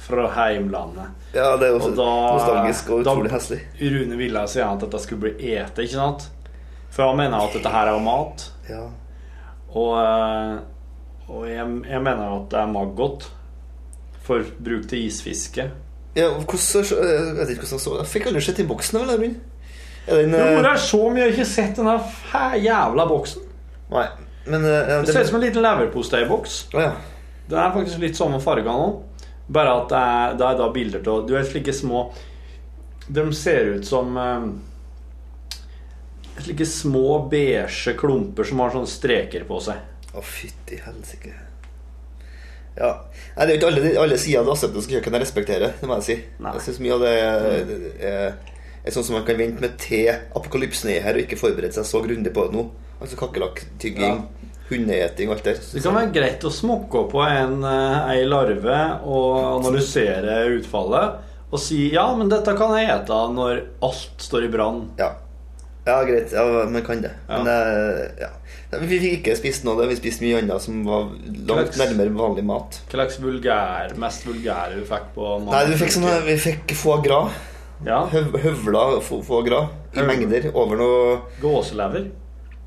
Speaker 3: fra heimlandet.
Speaker 10: ja, det er jo
Speaker 3: Og da-
Speaker 10: nostalgisk og
Speaker 3: da-
Speaker 10: utrolig heslig.
Speaker 3: Rune ville si at dette skulle bli ete, ikke sant? For han mener at dette her er jo mat.
Speaker 10: Ja.
Speaker 3: Og, eh, og jeg, jeg mener jo at det er maggot for bruk til isfiske.
Speaker 10: Ja, og hvordan, øh, jeg vet ikke hvordan han så Jeg fikk aldri sett den boksen. Vel, Armin? er den,
Speaker 3: Jo,
Speaker 10: øh,
Speaker 3: men det er så mye jeg har ikke sett den her fæ- jævla boksen.
Speaker 10: Nei, men øh, ja,
Speaker 3: Det ser ut som en liten leverposteiboks. Den er faktisk litt samme farga nå, bare at det er, det er da bilder til Du vet slike små De ser ut som eh, slike små beige klumper som har sånne streker på seg.
Speaker 10: Å, fytti helsike. Ja. Nei, det er jo ikke alle, alle sider av det asiatiske kjøkkenet jeg respekterer. Det må jeg si. Jeg synes mye av det er, er, er sånn som man kan vente med til apokalypsen er her, og ikke forberede seg så grundig på det nå. Altså kakerlakktygging, hundeeting og alt det der.
Speaker 3: Det kan være greit å smokke på en, eh, ei larve og analysere utfallet. Og si 'ja, men dette kan jeg ete når alt står i brann'.
Speaker 10: Ja. Ja, greit. Ja, man kan det. Men eh, ja. Nei, Vi fikk ikke spist noe av det. Vi spiste mye annet som var langt
Speaker 3: Klaks.
Speaker 10: nærmere vanlig mat.
Speaker 3: Hva slags vulgær, mest vulgære du fikk på mandag?
Speaker 10: Nei, vi fikk, sånne, vi fikk foie gras. Høv, høvla fo- foie gras i mengder over noe
Speaker 3: Gåselever?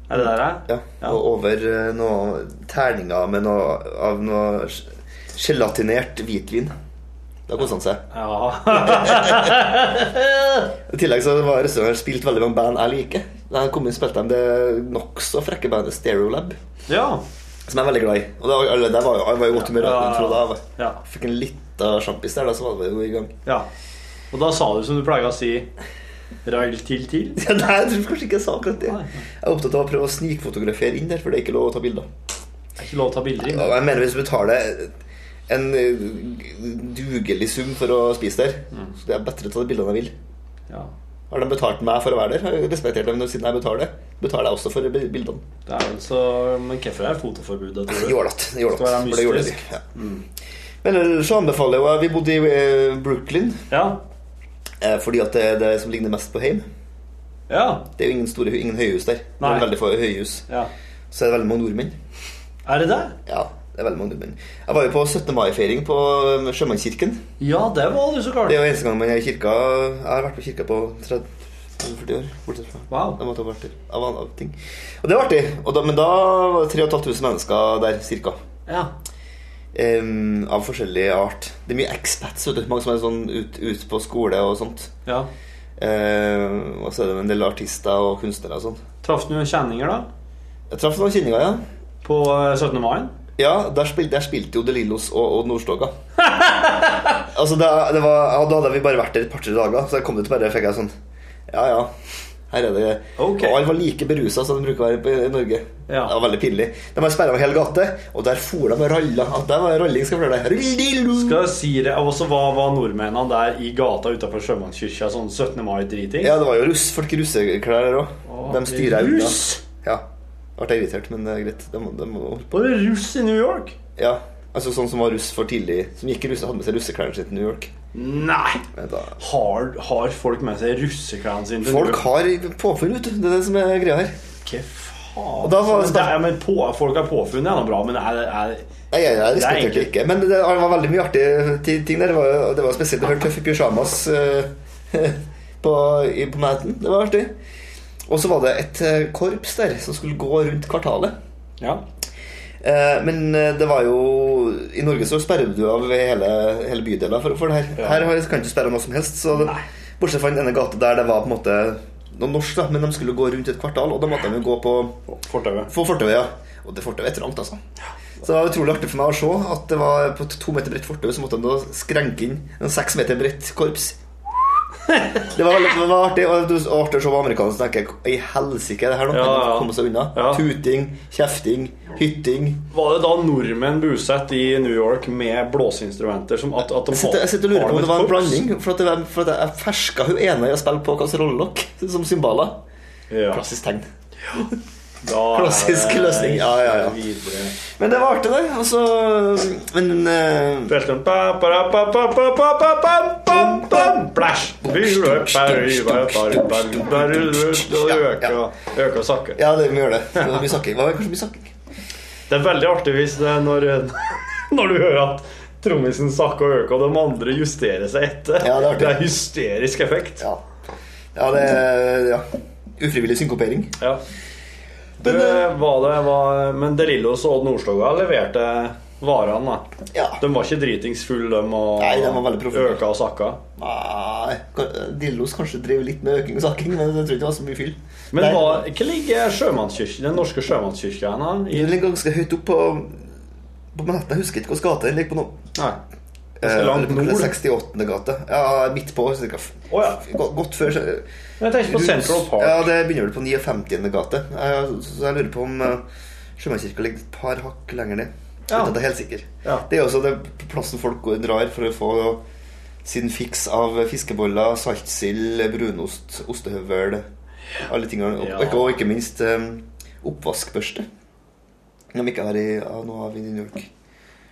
Speaker 3: Er det der eh? det er?
Speaker 10: Ja. Og over eh, noe terninger med noe, av noe ge- gelatinert hvitvin. Da koste han seg. I tillegg så var restauranten spilt veldig mange band jeg liker. Da jeg kom inn spilte de det nokså frekke bandet Stereolab.
Speaker 3: <laughs> Ja.
Speaker 10: Som jeg er veldig glad i. Og da, eller, der var jo, jeg var jo i godt humør
Speaker 3: Ja, ja,
Speaker 10: fra da. jeg var-
Speaker 3: ja.
Speaker 10: Fikk en lita sjampis der, da, så var vi jo i gang.
Speaker 3: Ja. Og da sa du som du pleier å si Rail til til?
Speaker 10: <laughs> Ja, nei, jeg tror kanskje ikke jeg sa akkurat det. Jeg er opptatt av å prøve å snikfotografere inn der, for det er ikke lov å ta bilder.
Speaker 3: Det er ikke lov å ta bilder inn.
Speaker 10: Ja, Jeg mener hvis du betaler en eh, dugelig sum for å spise der, så det er bedre å ta de bildene jeg vil.
Speaker 3: Mm. Ja.
Speaker 10: Har de betalt meg for å være der? Har jeg respektert dem når- siden jeg betaler? Betaler jeg også for bi- bildene?
Speaker 3: Det er vel så, men hvorfor er fotoforbudet? tror du?
Speaker 10: Jålat. jålat,
Speaker 3: Skal være
Speaker 10: for det gjorde de.
Speaker 3: mystisk.
Speaker 10: Men ellers så anbefaler jeg jo Vi bodde i eh, Brooklyn.
Speaker 3: Ja.
Speaker 10: Eh, Fordi at det er det som ligner mest på heim. Det er jo ingen, store, hu- ingen høyhus der. Det
Speaker 3: Nei.
Speaker 10: er veldig få høyhus. Så er det veldig mange nordmenn.
Speaker 3: Er det det?
Speaker 10: Ja, det er veldig mange nordmenn. Jeg var jo på 17. mai-feiring på eh, Sjømannskirken.
Speaker 3: Ja, det var du så klart.
Speaker 10: Det er jo eneste gang man er i kirka. Jeg har vært på kirka på 30-40 år. bortsett fra. Jeg måtte ha vært der av andre ting. Og det var artig. Og da, men da var det 3500 mennesker der, cirka.
Speaker 3: Ja.
Speaker 10: Em, av forskjellig art. Det er mye expats, vet du. Mange som er sånn ut, ut på skole og sånt.
Speaker 3: Ja.
Speaker 10: Em, og så er det en del artister og kunstnere og sånn.
Speaker 3: Traff du noen kjenninger, da?
Speaker 10: Jeg traff noen kjenninger, ja.
Speaker 3: På 17. mai?
Speaker 10: Ja, der spilte, der spilte jo De Lillos og, og Nordstoga. <laughs> altså, det, det var, ja, da hadde vi bare vært der et par-tre dager, så jeg kom dit og bare fikk jeg sånn Ja, ja. Her er det Og alle var like berusa som de bruker å være på- i Norge. Det var veldig pinlig. De har sperra av hele gate, og der for de og ralla. At der var ralling skal flere deg. Skal
Speaker 3: jeg si det, og så var, var nordmennene der i gata utenfor Sjømannskirka sånn 17. mai-driting?
Speaker 10: Ja, det var jo russ, folk i russeklær der òg.
Speaker 3: Å,
Speaker 10: De styrer jo unna.
Speaker 3: russ!
Speaker 10: Ja. Ble irritert, men det er greit. De, må- de må holde på.
Speaker 3: Bare russ i New York?
Speaker 10: Ja. Altså sånn som var russ for tidlig. Som gikk i russe, hadde med seg russeklærne sine til New York.
Speaker 3: Nei!
Speaker 10: Men da
Speaker 3: Har, har folk med seg russeklærne sine? til
Speaker 10: Folk
Speaker 3: New York?
Speaker 10: har påfunn, vet du. Det er det som er greia her.
Speaker 3: Hva faen?
Speaker 10: Og da var det
Speaker 3: Men det er- men på, folk har påfunnet ja, noe bra, men er, er,
Speaker 10: Nei, jeg, jeg
Speaker 3: Det er
Speaker 10: respekterte det
Speaker 3: egentlig-
Speaker 10: ikke. Men det det var veldig mye artige ti- ting der. Det var, det var spesielt å høre Tøffe pysjamas eh, <laughs> på, i, på Manhattan. Det var artig. Og så var det et eh, korps der som skulle gå rundt kvartalet. Eh, men eh, det var jo I Norge så sperrer du av hele, hele bydeler for, for det her. Her har- kan du ikke sperre noe som helst. Så det, bortsett fra denne gata der det var på en måte noe norsk, da, men de skulle gå rundt et kvartal, og da måtte de jo gå på
Speaker 3: Fortauet.
Speaker 10: På fortauet, ja. Og det fortauet er trangt, altså. Så det var utrolig artig for meg å se at det var på et to meter bredt fortau så måtte de da skrenke inn en seks meter bredt
Speaker 3: <laughs>
Speaker 10: korps. Det var, veldig- det var artig og det var artig å se på amerikanerne som tenker jeg, I helsike, er det her nå?
Speaker 3: Ja,
Speaker 10: Kan
Speaker 3: ja.
Speaker 10: de komme seg unna? Tuting, kjefting, hytting.
Speaker 3: Var det da nordmenn bosatt i New York med blåseinstrumenter som at, at de
Speaker 10: Jeg sitter, jeg sitter og lurer
Speaker 3: har
Speaker 10: på om
Speaker 3: de
Speaker 10: det var en
Speaker 3: et korps?
Speaker 10: blanding. For at, det, var- for at jeg ferska hun ene i å spille på kasserollelokk som cymbaler.
Speaker 3: Ja.
Speaker 10: Klassisk tegn.
Speaker 3: Da er
Speaker 10: Klassisk
Speaker 3: det
Speaker 10: løsning. Ja, ja, ja.
Speaker 3: videre.
Speaker 10: Men det var artig, det. Og så Men eh,
Speaker 3: Spilte den pa, pa, ra, pa, pa, pa, pa, pa, pa, pam, pam, Plash! Vi løper, vi bare tar ut, bare ut, bare ut, og øker og- øker og sakker.
Speaker 10: Ja, det vi gjør det. Det var mye snakking. Det var kanskje mye snakking.
Speaker 3: Det er veldig artig hvis det er når, <laughs> når du hører at trommisen sakker og øker, og de andre justerer seg etter. det, er hysterisk effekt.
Speaker 10: Ja. Ja, det er ja. Ufrivillig synkopering.
Speaker 3: Ja. Du,
Speaker 10: eh,
Speaker 3: var det, var, men De Lillos og Odd Nordstoga leverte varene, da. De var ikke dritingsfulle, de, og
Speaker 10: Nei, de var veldig proffe.
Speaker 3: øka og sakka.
Speaker 10: Nei, kan- Dillos kanskje drev litt med øking og sakking, men jeg tror ikke det var så mye fyll.
Speaker 3: Men
Speaker 10: Der-
Speaker 3: hva, hva ligger sjømannskirken, den norske sjømannskirka hen? da? I-
Speaker 10: Den ligger ganske høyt opp på, på Manhattan. Jeg husker ikke hvilken gate den ligger på nå.
Speaker 3: Nei.
Speaker 10: Eh,
Speaker 3: Ganske langt
Speaker 10: jeg lurer på om det er
Speaker 3: nord.
Speaker 10: 68. gate. Ja, midt på. Cirka. Godt, godt før så-
Speaker 3: Men jeg tenker på
Speaker 10: Rundt-
Speaker 3: Central Park.
Speaker 10: Ja, det begynner vel på 59. gate. Eh, Så jeg lurer på om eh, Sjømannskirka ligger et par hakk lenger ned.
Speaker 3: Ja.
Speaker 10: Uten at jeg er helt sikker.
Speaker 3: Ja.
Speaker 10: Det er også det plassen folk går- drar for å få sin fiks av fiskeboller, saltsild, brunost, ostehøvel Alle tingene. Og-
Speaker 3: Ja.
Speaker 10: Og, ikke, og ikke minst eh, oppvaskbørste. Om ikke har i, av noe av i New York.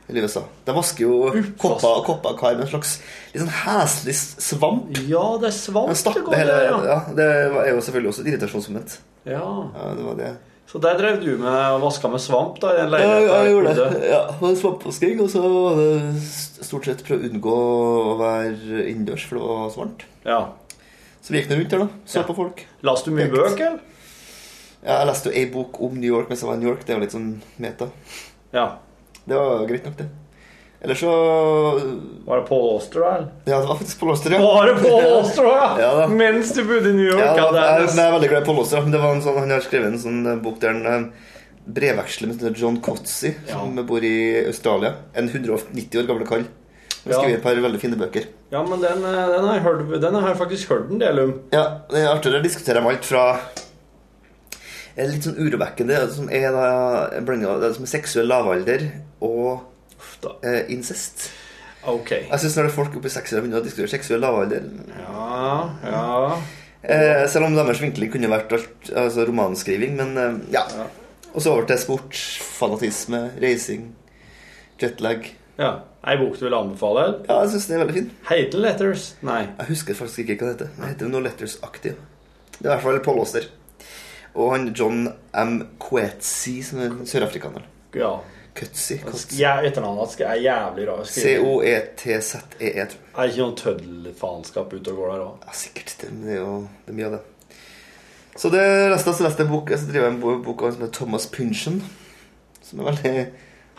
Speaker 10: Eller USA. De vasker jo kopper og kopper og kar med en slags litt sånn heslig svamp.
Speaker 3: Ja, det er svamp.
Speaker 10: Den stapper
Speaker 3: går
Speaker 10: hele
Speaker 3: der,
Speaker 10: ja.
Speaker 3: ja.
Speaker 10: Det var- er jo selvfølgelig også et irritasjonsmoment.
Speaker 3: Ja.
Speaker 10: Ja, det var det.
Speaker 3: Så der drev du med og vaska med svamp, da? I den
Speaker 10: Ja,
Speaker 3: leiligheten
Speaker 10: jeg
Speaker 3: der i
Speaker 10: gjorde det.
Speaker 3: Bodø?
Speaker 10: Ja, det var svampvasking, og så var det st- stort sett prøve å unngå å være innendørs, for det var så varmt.
Speaker 3: Ja.
Speaker 10: Så vi gikk nå rundt der, da. Så på folk.
Speaker 3: Leste du mye bøker, eller?
Speaker 10: Ja, jeg leste jo ei bok om New York mens jeg var i New York. Det var litt sånn meta.
Speaker 3: Ja.
Speaker 10: Det var greit nok, det. Eller så
Speaker 3: Var det Paul Auster, da? eller?
Speaker 10: Ja, det var faktisk Paul Auster, <laughs> ja.
Speaker 3: Var det Paul Auster, da?
Speaker 10: ja da.
Speaker 3: Mens du bodde i New York?
Speaker 10: Ja,
Speaker 3: Ja,
Speaker 10: da,
Speaker 3: det
Speaker 10: jeg,
Speaker 3: er
Speaker 10: men jeg er veldig glad i Paul Auster. Men det var en sånn, han har skrevet en sånn eh, bok der han eh, brevveksler med sånn John Cotsey, som bor i Australia. En 190 år gammel kall. Han
Speaker 3: Ja.
Speaker 10: skriver et par veldig fine bøker.
Speaker 3: Ja, men den, eh, den, har jeg hørt, den har jeg faktisk hørt en del om.
Speaker 10: Ja, det er artig å diskutere om alt fra eh, litt sånn urovekkende det som er da, en blanding av det som er seksuell lavalder og eh, incest.
Speaker 3: Ok.
Speaker 10: Jeg syns når det er folk oppi 60 begynner å diskutere seksuell lavalder
Speaker 3: Ja, ja.
Speaker 10: Eh, selv om deres vinkling kunne vært alt, altså romanskriving, men eh, ja. Og så over til sport, fanatisme, racing, jetlag.
Speaker 3: Ja. Ei bok du vil anbefale?
Speaker 10: Ja, jeg syns den er veldig fin.
Speaker 3: Hatel Letters? Nei.
Speaker 10: Jeg husker faktisk ikke hva den heter. Den heter noe Letters-aktig. Det er i hvert fall Paul Auster. Og han John M. Kwetsi, som er sørafrikaneren.
Speaker 3: Ja.
Speaker 10: Kutsi. Kutsi.
Speaker 3: Ja, Etternavnet hans er jævlig rar.
Speaker 10: E C-O-E-T-Z-E-E, E, tror jeg.
Speaker 3: Er det ikke noen tøddelfaenskap ute og går der òg?
Speaker 10: Ja, sikkert. Det det er jo det er mye av det. Så det resten av Celeste bok, så driver jeg en bo- bok av en som heter Thomas Pynchon. Som er veldig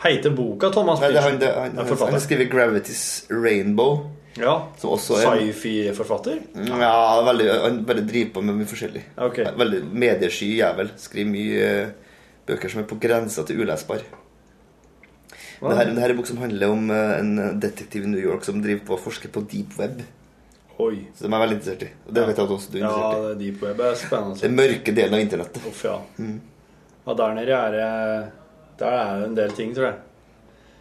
Speaker 3: Heiter boka Thomas
Speaker 10: Nei, det er han,
Speaker 3: Pynchon?
Speaker 10: det er han,
Speaker 3: Det er
Speaker 10: han,
Speaker 3: forfatter.
Speaker 10: han har skrevet 'Gravity's Rainbow'.
Speaker 3: Ja.
Speaker 10: Som også er Mm,
Speaker 3: Sci-fi-forfatter?
Speaker 10: Ja, veldig, han bare driver på med mye forskjellig. Veldig mediesky jævel. Skriver mye eh, bøker som er på grensa til ulesbar.
Speaker 3: Wow.
Speaker 10: Det her, det her er en bok som handler om eh, en detektiv i New York som driver på og forsker på deep web.
Speaker 3: Oi.
Speaker 10: Så dem er jeg veldig interessert i. Og det vet jeg at også du er
Speaker 3: Ja,
Speaker 10: interessert i.
Speaker 3: det er deep web er spennende.
Speaker 10: Den mørke delen av internettet.
Speaker 3: Uff, ja.
Speaker 10: Mm.
Speaker 3: ja. Der nede er det Der er det en del ting, tror jeg.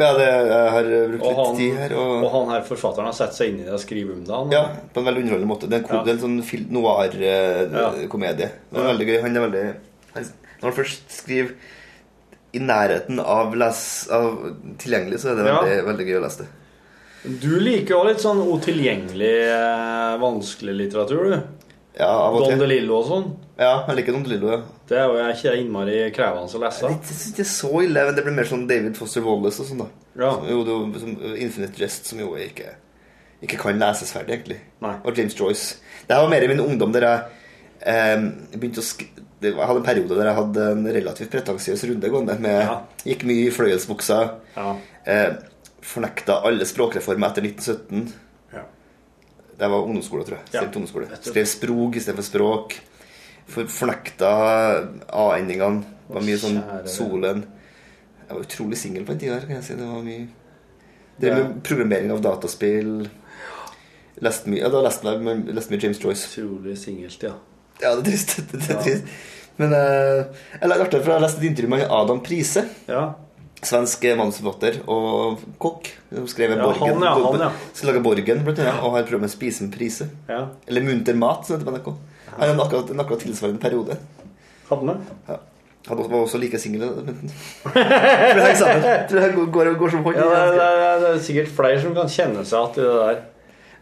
Speaker 10: Ja, det, jeg har brukt
Speaker 3: Og
Speaker 10: litt
Speaker 3: han,
Speaker 10: tid her. Og,
Speaker 3: og han her forfatteren har satt seg inn i det og skriver om det. Han.
Speaker 10: Ja, på en veldig underholdende måte. Det er en, ko-
Speaker 3: Ja.
Speaker 10: det er en sånn fil- noir-komedie. Den er
Speaker 3: Ja.
Speaker 10: veldig gøy. Han er veldig han, Når han først skriver i nærheten av, les, av tilgjengelig, så er det
Speaker 3: Ja.
Speaker 10: veldig, veldig gøy å lese det.
Speaker 3: Du liker jo litt sånn utilgjengelig, eh, vanskelig litteratur, du.
Speaker 10: Ja, av og til.
Speaker 3: Don DeLillo og sånn.
Speaker 10: Ja, jeg liker Don DeLillo, ja.
Speaker 3: Det er jo jeg er ikke innmari krevende å lese.
Speaker 10: Jeg syns ikke det er så ille, men det blir mer sånn David Foster Wallace og sånn, da. Som, jo, det, er jo som eh, Infinite Jest, som jo ikke, ikke kan leses ferdig, egentlig. Og James Joyce. Det her var mer i min ungdom, der jeg eh, begynte å sk det var- Jeg hadde en periode der jeg hadde en relativt pretensiøs runde gående. Med, Gikk mye i fløyelsbuksa. Eh, fornekta alle språkreformer etter 1917.
Speaker 3: Ja.
Speaker 10: Det var ungdomsskole, tror jeg.
Speaker 3: Ja.
Speaker 10: Stemt ungdomsskole.
Speaker 3: Nettopp.
Speaker 10: Skrev sprog istedenfor språk. For, fornekta a-endingene. Det var mye sånn
Speaker 3: Kjære.
Speaker 10: solen. Jeg var utrolig singel på den tida her, kan jeg si. Det var mye
Speaker 3: Ja.
Speaker 10: Drev med programmering av dataspill. Leste mye, ja, da leste jeg men leste mye James Joyce.
Speaker 3: Utrolig singelt, ja.
Speaker 10: Ja, det er trist. <laughs> Det er trist. Men eh, jeg lærte artig, for jeg har lest et intervju med Adam Prise. Svensk manusforfatter og kokk. Som skrev
Speaker 3: Ja,
Speaker 10: Borgen.
Speaker 3: han, ja, han, ja.
Speaker 10: Som laget Borgen, blant annet. Og har prøvd med Spise med prise.
Speaker 3: Ja.
Speaker 10: Eller Munter mat, som heter på NRK. Han hadde en akkurat, en akkurat tilsvarende periode.
Speaker 3: Hadde han <laughs>
Speaker 10: Ja. Han var også like <laughs> singel. Tror <laughs> jeg sammen. Tror jeg går, går som hånd.
Speaker 3: Ja, det, er- det, er- det er sikkert flere som kan kjenne seg igjen i det der.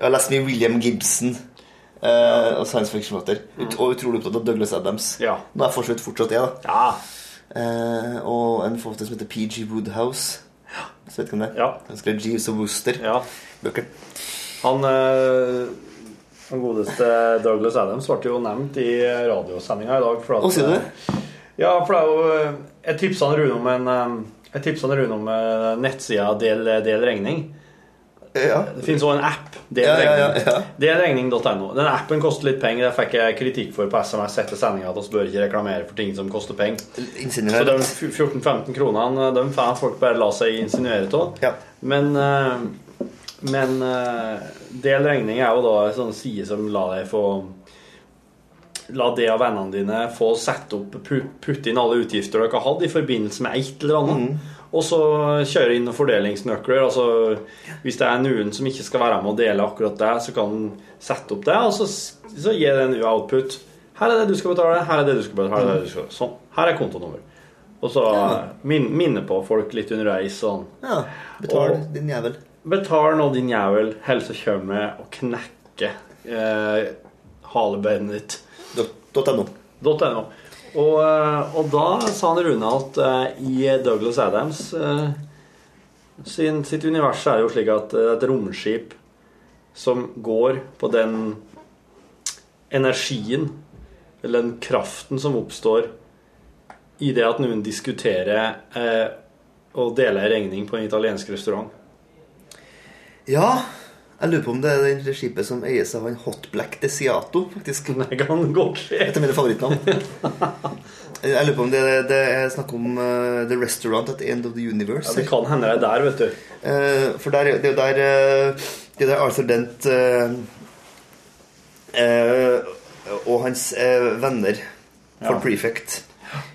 Speaker 10: Jeg har lest mye William Gibson. eh, og science fiction-forfatter. Ut, og utrolig opptatt av Douglas Adams. Nå er jeg fortsatt fortsatt jeg, da.
Speaker 3: Ah,
Speaker 10: Eh, og en forfatter som heter PG Woodhouse. Så vet du hvem det er? Han skrev Jeeves og Wooster. Bøker.
Speaker 3: Han, eh, han godeste Douglas Adams ble jo nevnt i radiosendinga i dag. for at- eh,
Speaker 10: Å, sier du det?
Speaker 3: Ja, for det er jo eh, Jeg tipsa han Rune om en eh, Jeg tipsa han Rune om eh, nettsida Del, Del regning.
Speaker 10: Eh,
Speaker 3: Det finnes òg en app. Del
Speaker 10: Ja, ja,
Speaker 3: regning.
Speaker 10: ja,
Speaker 3: Delregning.no. Den appen koster litt penger. Det fikk jeg kritikk for på SMS etter sendinga, at vi bør ikke reklamere for ting som koster penger. Så
Speaker 10: Insinuerer.
Speaker 3: de 14-15 kronene De får folk bare la seg insinuere av. Men, eh, men eh, del regning er jo da en sånn side som la deg få La det av vennene dine få sette opp pu- Putte inn alle utgifter dere har hatt i forbindelse med et eller annet. Og så kjøre inn noen fordelingsnøkler. Altså Hvis det er noen som ikke skal være med og dele akkurat det, så kan den sette opp det, og så, så gir den output. Her er det du skal betale, her er det du skal betale, her er det du skal Sånn. Her er kontonummer. Og så min, minne på folk litt underveis sånn.
Speaker 10: Ja. Betal,
Speaker 3: Og-
Speaker 10: din jævel.
Speaker 3: Betal nå, din jævel, eller så kommer jeg og knekker eh, halebeinet ditt.
Speaker 10: .no.
Speaker 3: .no. Og, eh, og da sa han Rune at eh, i Douglas Adams eh, sin, sitt univers er det jo slik at eh, et romskip som går på den energien, eller den kraften som oppstår i det at noen diskuterer eh, å dele en regning på en italiensk restaurant.
Speaker 10: Ja, jeg lurer på om det er det skipet som eies av en hot black desiato, <laughs> faktisk.
Speaker 3: Nei, kan godt skje.
Speaker 10: Et av mine favorittnavn. Jeg lurer på om det, det er snakk om eh, The Restaurant at the End of the Universe.
Speaker 3: Ja, det kan hende det er der, vet du.
Speaker 10: Eh, for der, det er jo der, eh, det er der Arthur Dent eh, eh, og hans eh, venner for
Speaker 3: Ja.
Speaker 10: Prefect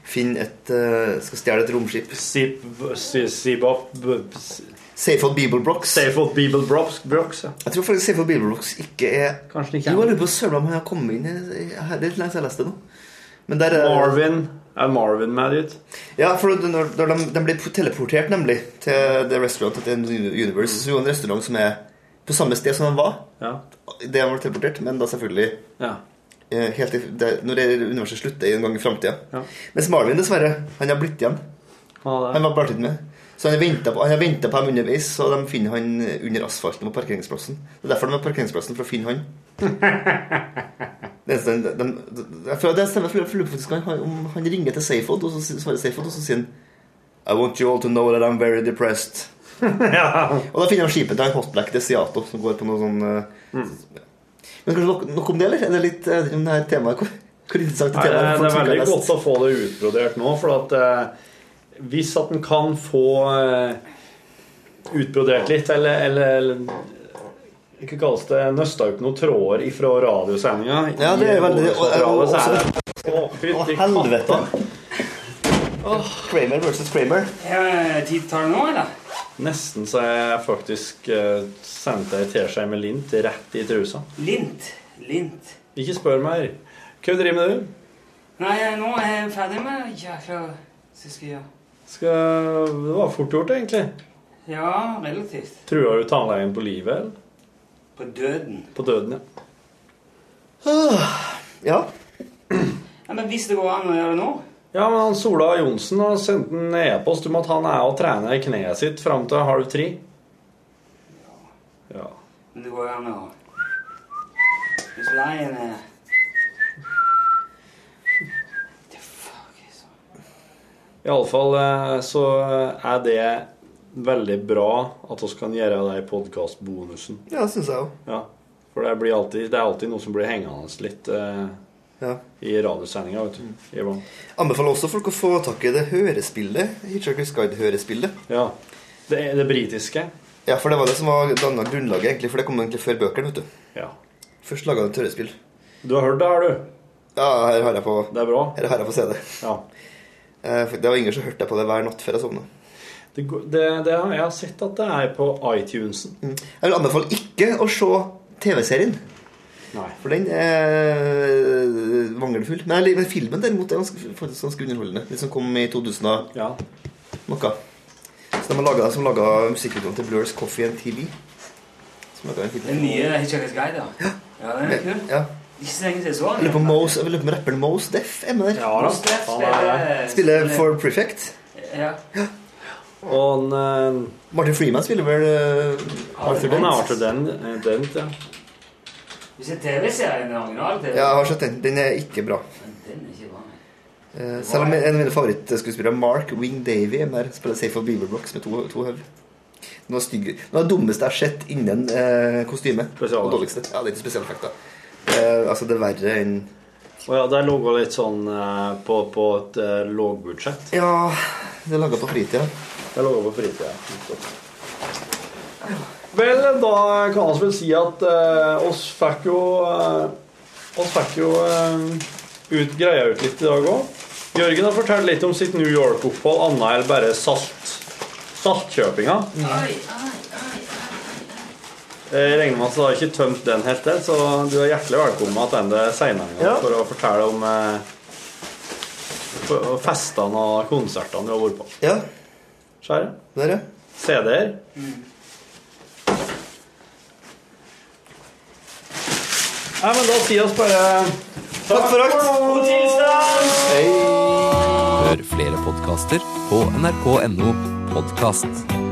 Speaker 10: finner et eh, skal stjele et romskip. Safehold Beeblebrox.
Speaker 3: Safehold Beeblebrox ja.
Speaker 10: Jeg tror faktisk Safehold Beeblebrox ikke er
Speaker 3: Kanskje
Speaker 10: Jo, jeg lurer på søren om han har kommet inn i, i- her, Det er lenge siden jeg leste det nå. Men der er
Speaker 3: Marvin
Speaker 12: Er Marvin med dit?
Speaker 10: Ja, for det- når, når de, de blir teleportert nemlig til The Restaurant at the Universe, så er jo en restaurant som er på samme sted som de var. Det de ble teleportert, men da selvfølgelig eh, helt i, det, når det universet slutter en gang i framtida. Mens Marvin, dessverre, han har blitt igjen. Han var bare litt med. Så han har ventet på, han har ventet på dem underveis, og de finner han eh, under asfalten på parkeringsplassen. Det er derfor de har parkeringsplassen, for å
Speaker 12: <laughs>
Speaker 10: finne han. Det eneste de, de, jeg føler- det stemmer, for jeg lurer faktisk han, om han ringer til Safehold, og så s- svarer Safehold, og så sier han I want you all to know that I'm very
Speaker 12: <laughs>
Speaker 10: depressed. Og da finner han skipet til en hotblack Desiato, som går på noe sånn eh,
Speaker 12: Mm.
Speaker 10: Men kanskje nok, nok om det, eller? Er det litt, jeg vet ikke om det her temaet Hvor, hvor interessant
Speaker 12: Nei,
Speaker 10: er
Speaker 12: det,
Speaker 10: temaet? folk
Speaker 12: det er
Speaker 10: som ikke har
Speaker 12: veldig
Speaker 10: lest?
Speaker 12: godt å få det utbrodert nå, for at eh, hvis at en kan få eh, utbrodert litt, eller, eller, eller ikke kalles det nøsta opp noen tråder ifra radiosendinga
Speaker 10: Ja, det er veldig- og- og-
Speaker 12: så er
Speaker 10: også-
Speaker 12: det Å, fytti
Speaker 10: Helvete! Kramer versus Kramer.
Speaker 12: Tidtall nå, eller? Nesten så jeg faktisk eh, sendte ei teskje med lint rett i trusa.
Speaker 2: Lint. Lint.
Speaker 12: Ikke spør mer. Hva driver med du?
Speaker 2: Nei, nå er jeg ferdig med jækla som jeg skal gjøre.
Speaker 12: Skal... Det var fort gjort, egentlig.
Speaker 2: Ja, relativt.
Speaker 12: Trua du tannlegen på livet, eller?
Speaker 2: På døden.
Speaker 12: På døden, ja.
Speaker 2: Nei, men hvis det går an å gjøre det nå
Speaker 12: Ja, men han Sola Johnsen har sendt en e-post om at han er og trener i kneet sitt fram til halv tre. Ja.
Speaker 2: Men det går an å Hvis leien er
Speaker 12: Iallfall eh, så er det veldig bra at vi kan gjøre det i podkastbonusen.
Speaker 10: Ja, det syns jeg òg.
Speaker 12: Ja. For det, blir alltid, det er alltid noe som blir hengende litt eh,
Speaker 10: Ja.
Speaker 12: i radiosendinga, vet du. Iblant.
Speaker 10: Anbefaler også folk å få tak i det hørespillet. Hitchhiker's Guide-hørespillet.
Speaker 12: Ja, Det, er det britiske?
Speaker 10: Ja, for det var det som var danna grunnlaget, egentlig. For det kom egentlig før bøkene, vet du.
Speaker 12: Ja.
Speaker 10: Først laga de et hørespill.
Speaker 12: Du har hørt det, har du?
Speaker 10: Ja, her har jeg på
Speaker 12: Det er bra.
Speaker 10: Her har jeg på CD.
Speaker 12: Ja.
Speaker 10: Det var ingen som hørte jeg på det hver natt før jeg sovna.
Speaker 12: Det, går- det, det, har- jeg har sett at det er på iTunesen.
Speaker 10: Mm. Jeg vil anbefale ikke å se TV-serien.
Speaker 12: Nei.
Speaker 10: For den er mangelfull. Men, jeg lik- men filmen derimot er ganske, faktisk ganske underholdende. Den som kom i 2000 og
Speaker 12: ja.
Speaker 10: noe. Så de har laget, som laga musikkvideoen til Blurs Coffee and TV. Som laget en film.
Speaker 2: Den nye Hitchhiker's Guide, ja. Ja, den er kul.
Speaker 10: Ja.
Speaker 2: Ikke så lenge siden jeg så
Speaker 10: Jeg
Speaker 2: den.
Speaker 10: lurer på Mose, jeg lurer på om rapperen Mose Deff er med der.
Speaker 12: Ja, da. Mos Def spiller-
Speaker 10: Spiller for Prefect.
Speaker 2: Ja.
Speaker 12: Og han
Speaker 3: eh,
Speaker 10: Martin Freeman spiller vel eh, Arthur
Speaker 12: Han er
Speaker 10: Dent.
Speaker 12: Arthur Dent, eh, Dent ja.
Speaker 2: Hvis jeg TV-serien er original
Speaker 10: Ja,
Speaker 2: TV
Speaker 10: jeg har sett den. Den er ikke bra.
Speaker 2: Den er ikke bra. nei.
Speaker 10: Eh, selv om en av mine favorittskuespillere, Mark Wing Davy, er med her, spiller Safe of Beaverblocks med to, to høv. Noe stygg Noe av det dummeste jeg har sett innen eh, kostyme. Og dårligste. Ja, det er ikke spesialeffekter. Eh, altså, det er verre enn
Speaker 12: Og ja, det lå litt sånn eh, på, på et eh, lågbudsjett.
Speaker 10: Ja, det er laga på fritida.
Speaker 12: Det er laget på fritida. nettopp. Vel, da kan vi vel si at eh, oss fikk jo eh, oss fikk jo eh, ut greia ut litt i dag òg. Jørgen har fortalt litt om sitt New York-opphold, annet enn bare salt saltkjøpinga. Jeg regner med at du har ikke tømt den helt, eh, så du er hjertelig velkommen tilbake senere en gang
Speaker 10: Ja.
Speaker 12: for å fortelle om eh, f- festene og konsertene du har vært på.
Speaker 10: Ja.
Speaker 12: Skjære.
Speaker 10: Der, ja.
Speaker 12: CD-er. Nei, men da sier oss bare Takk for alt. God tilstand.
Speaker 13: Hør flere podkaster på nrk.no podkast.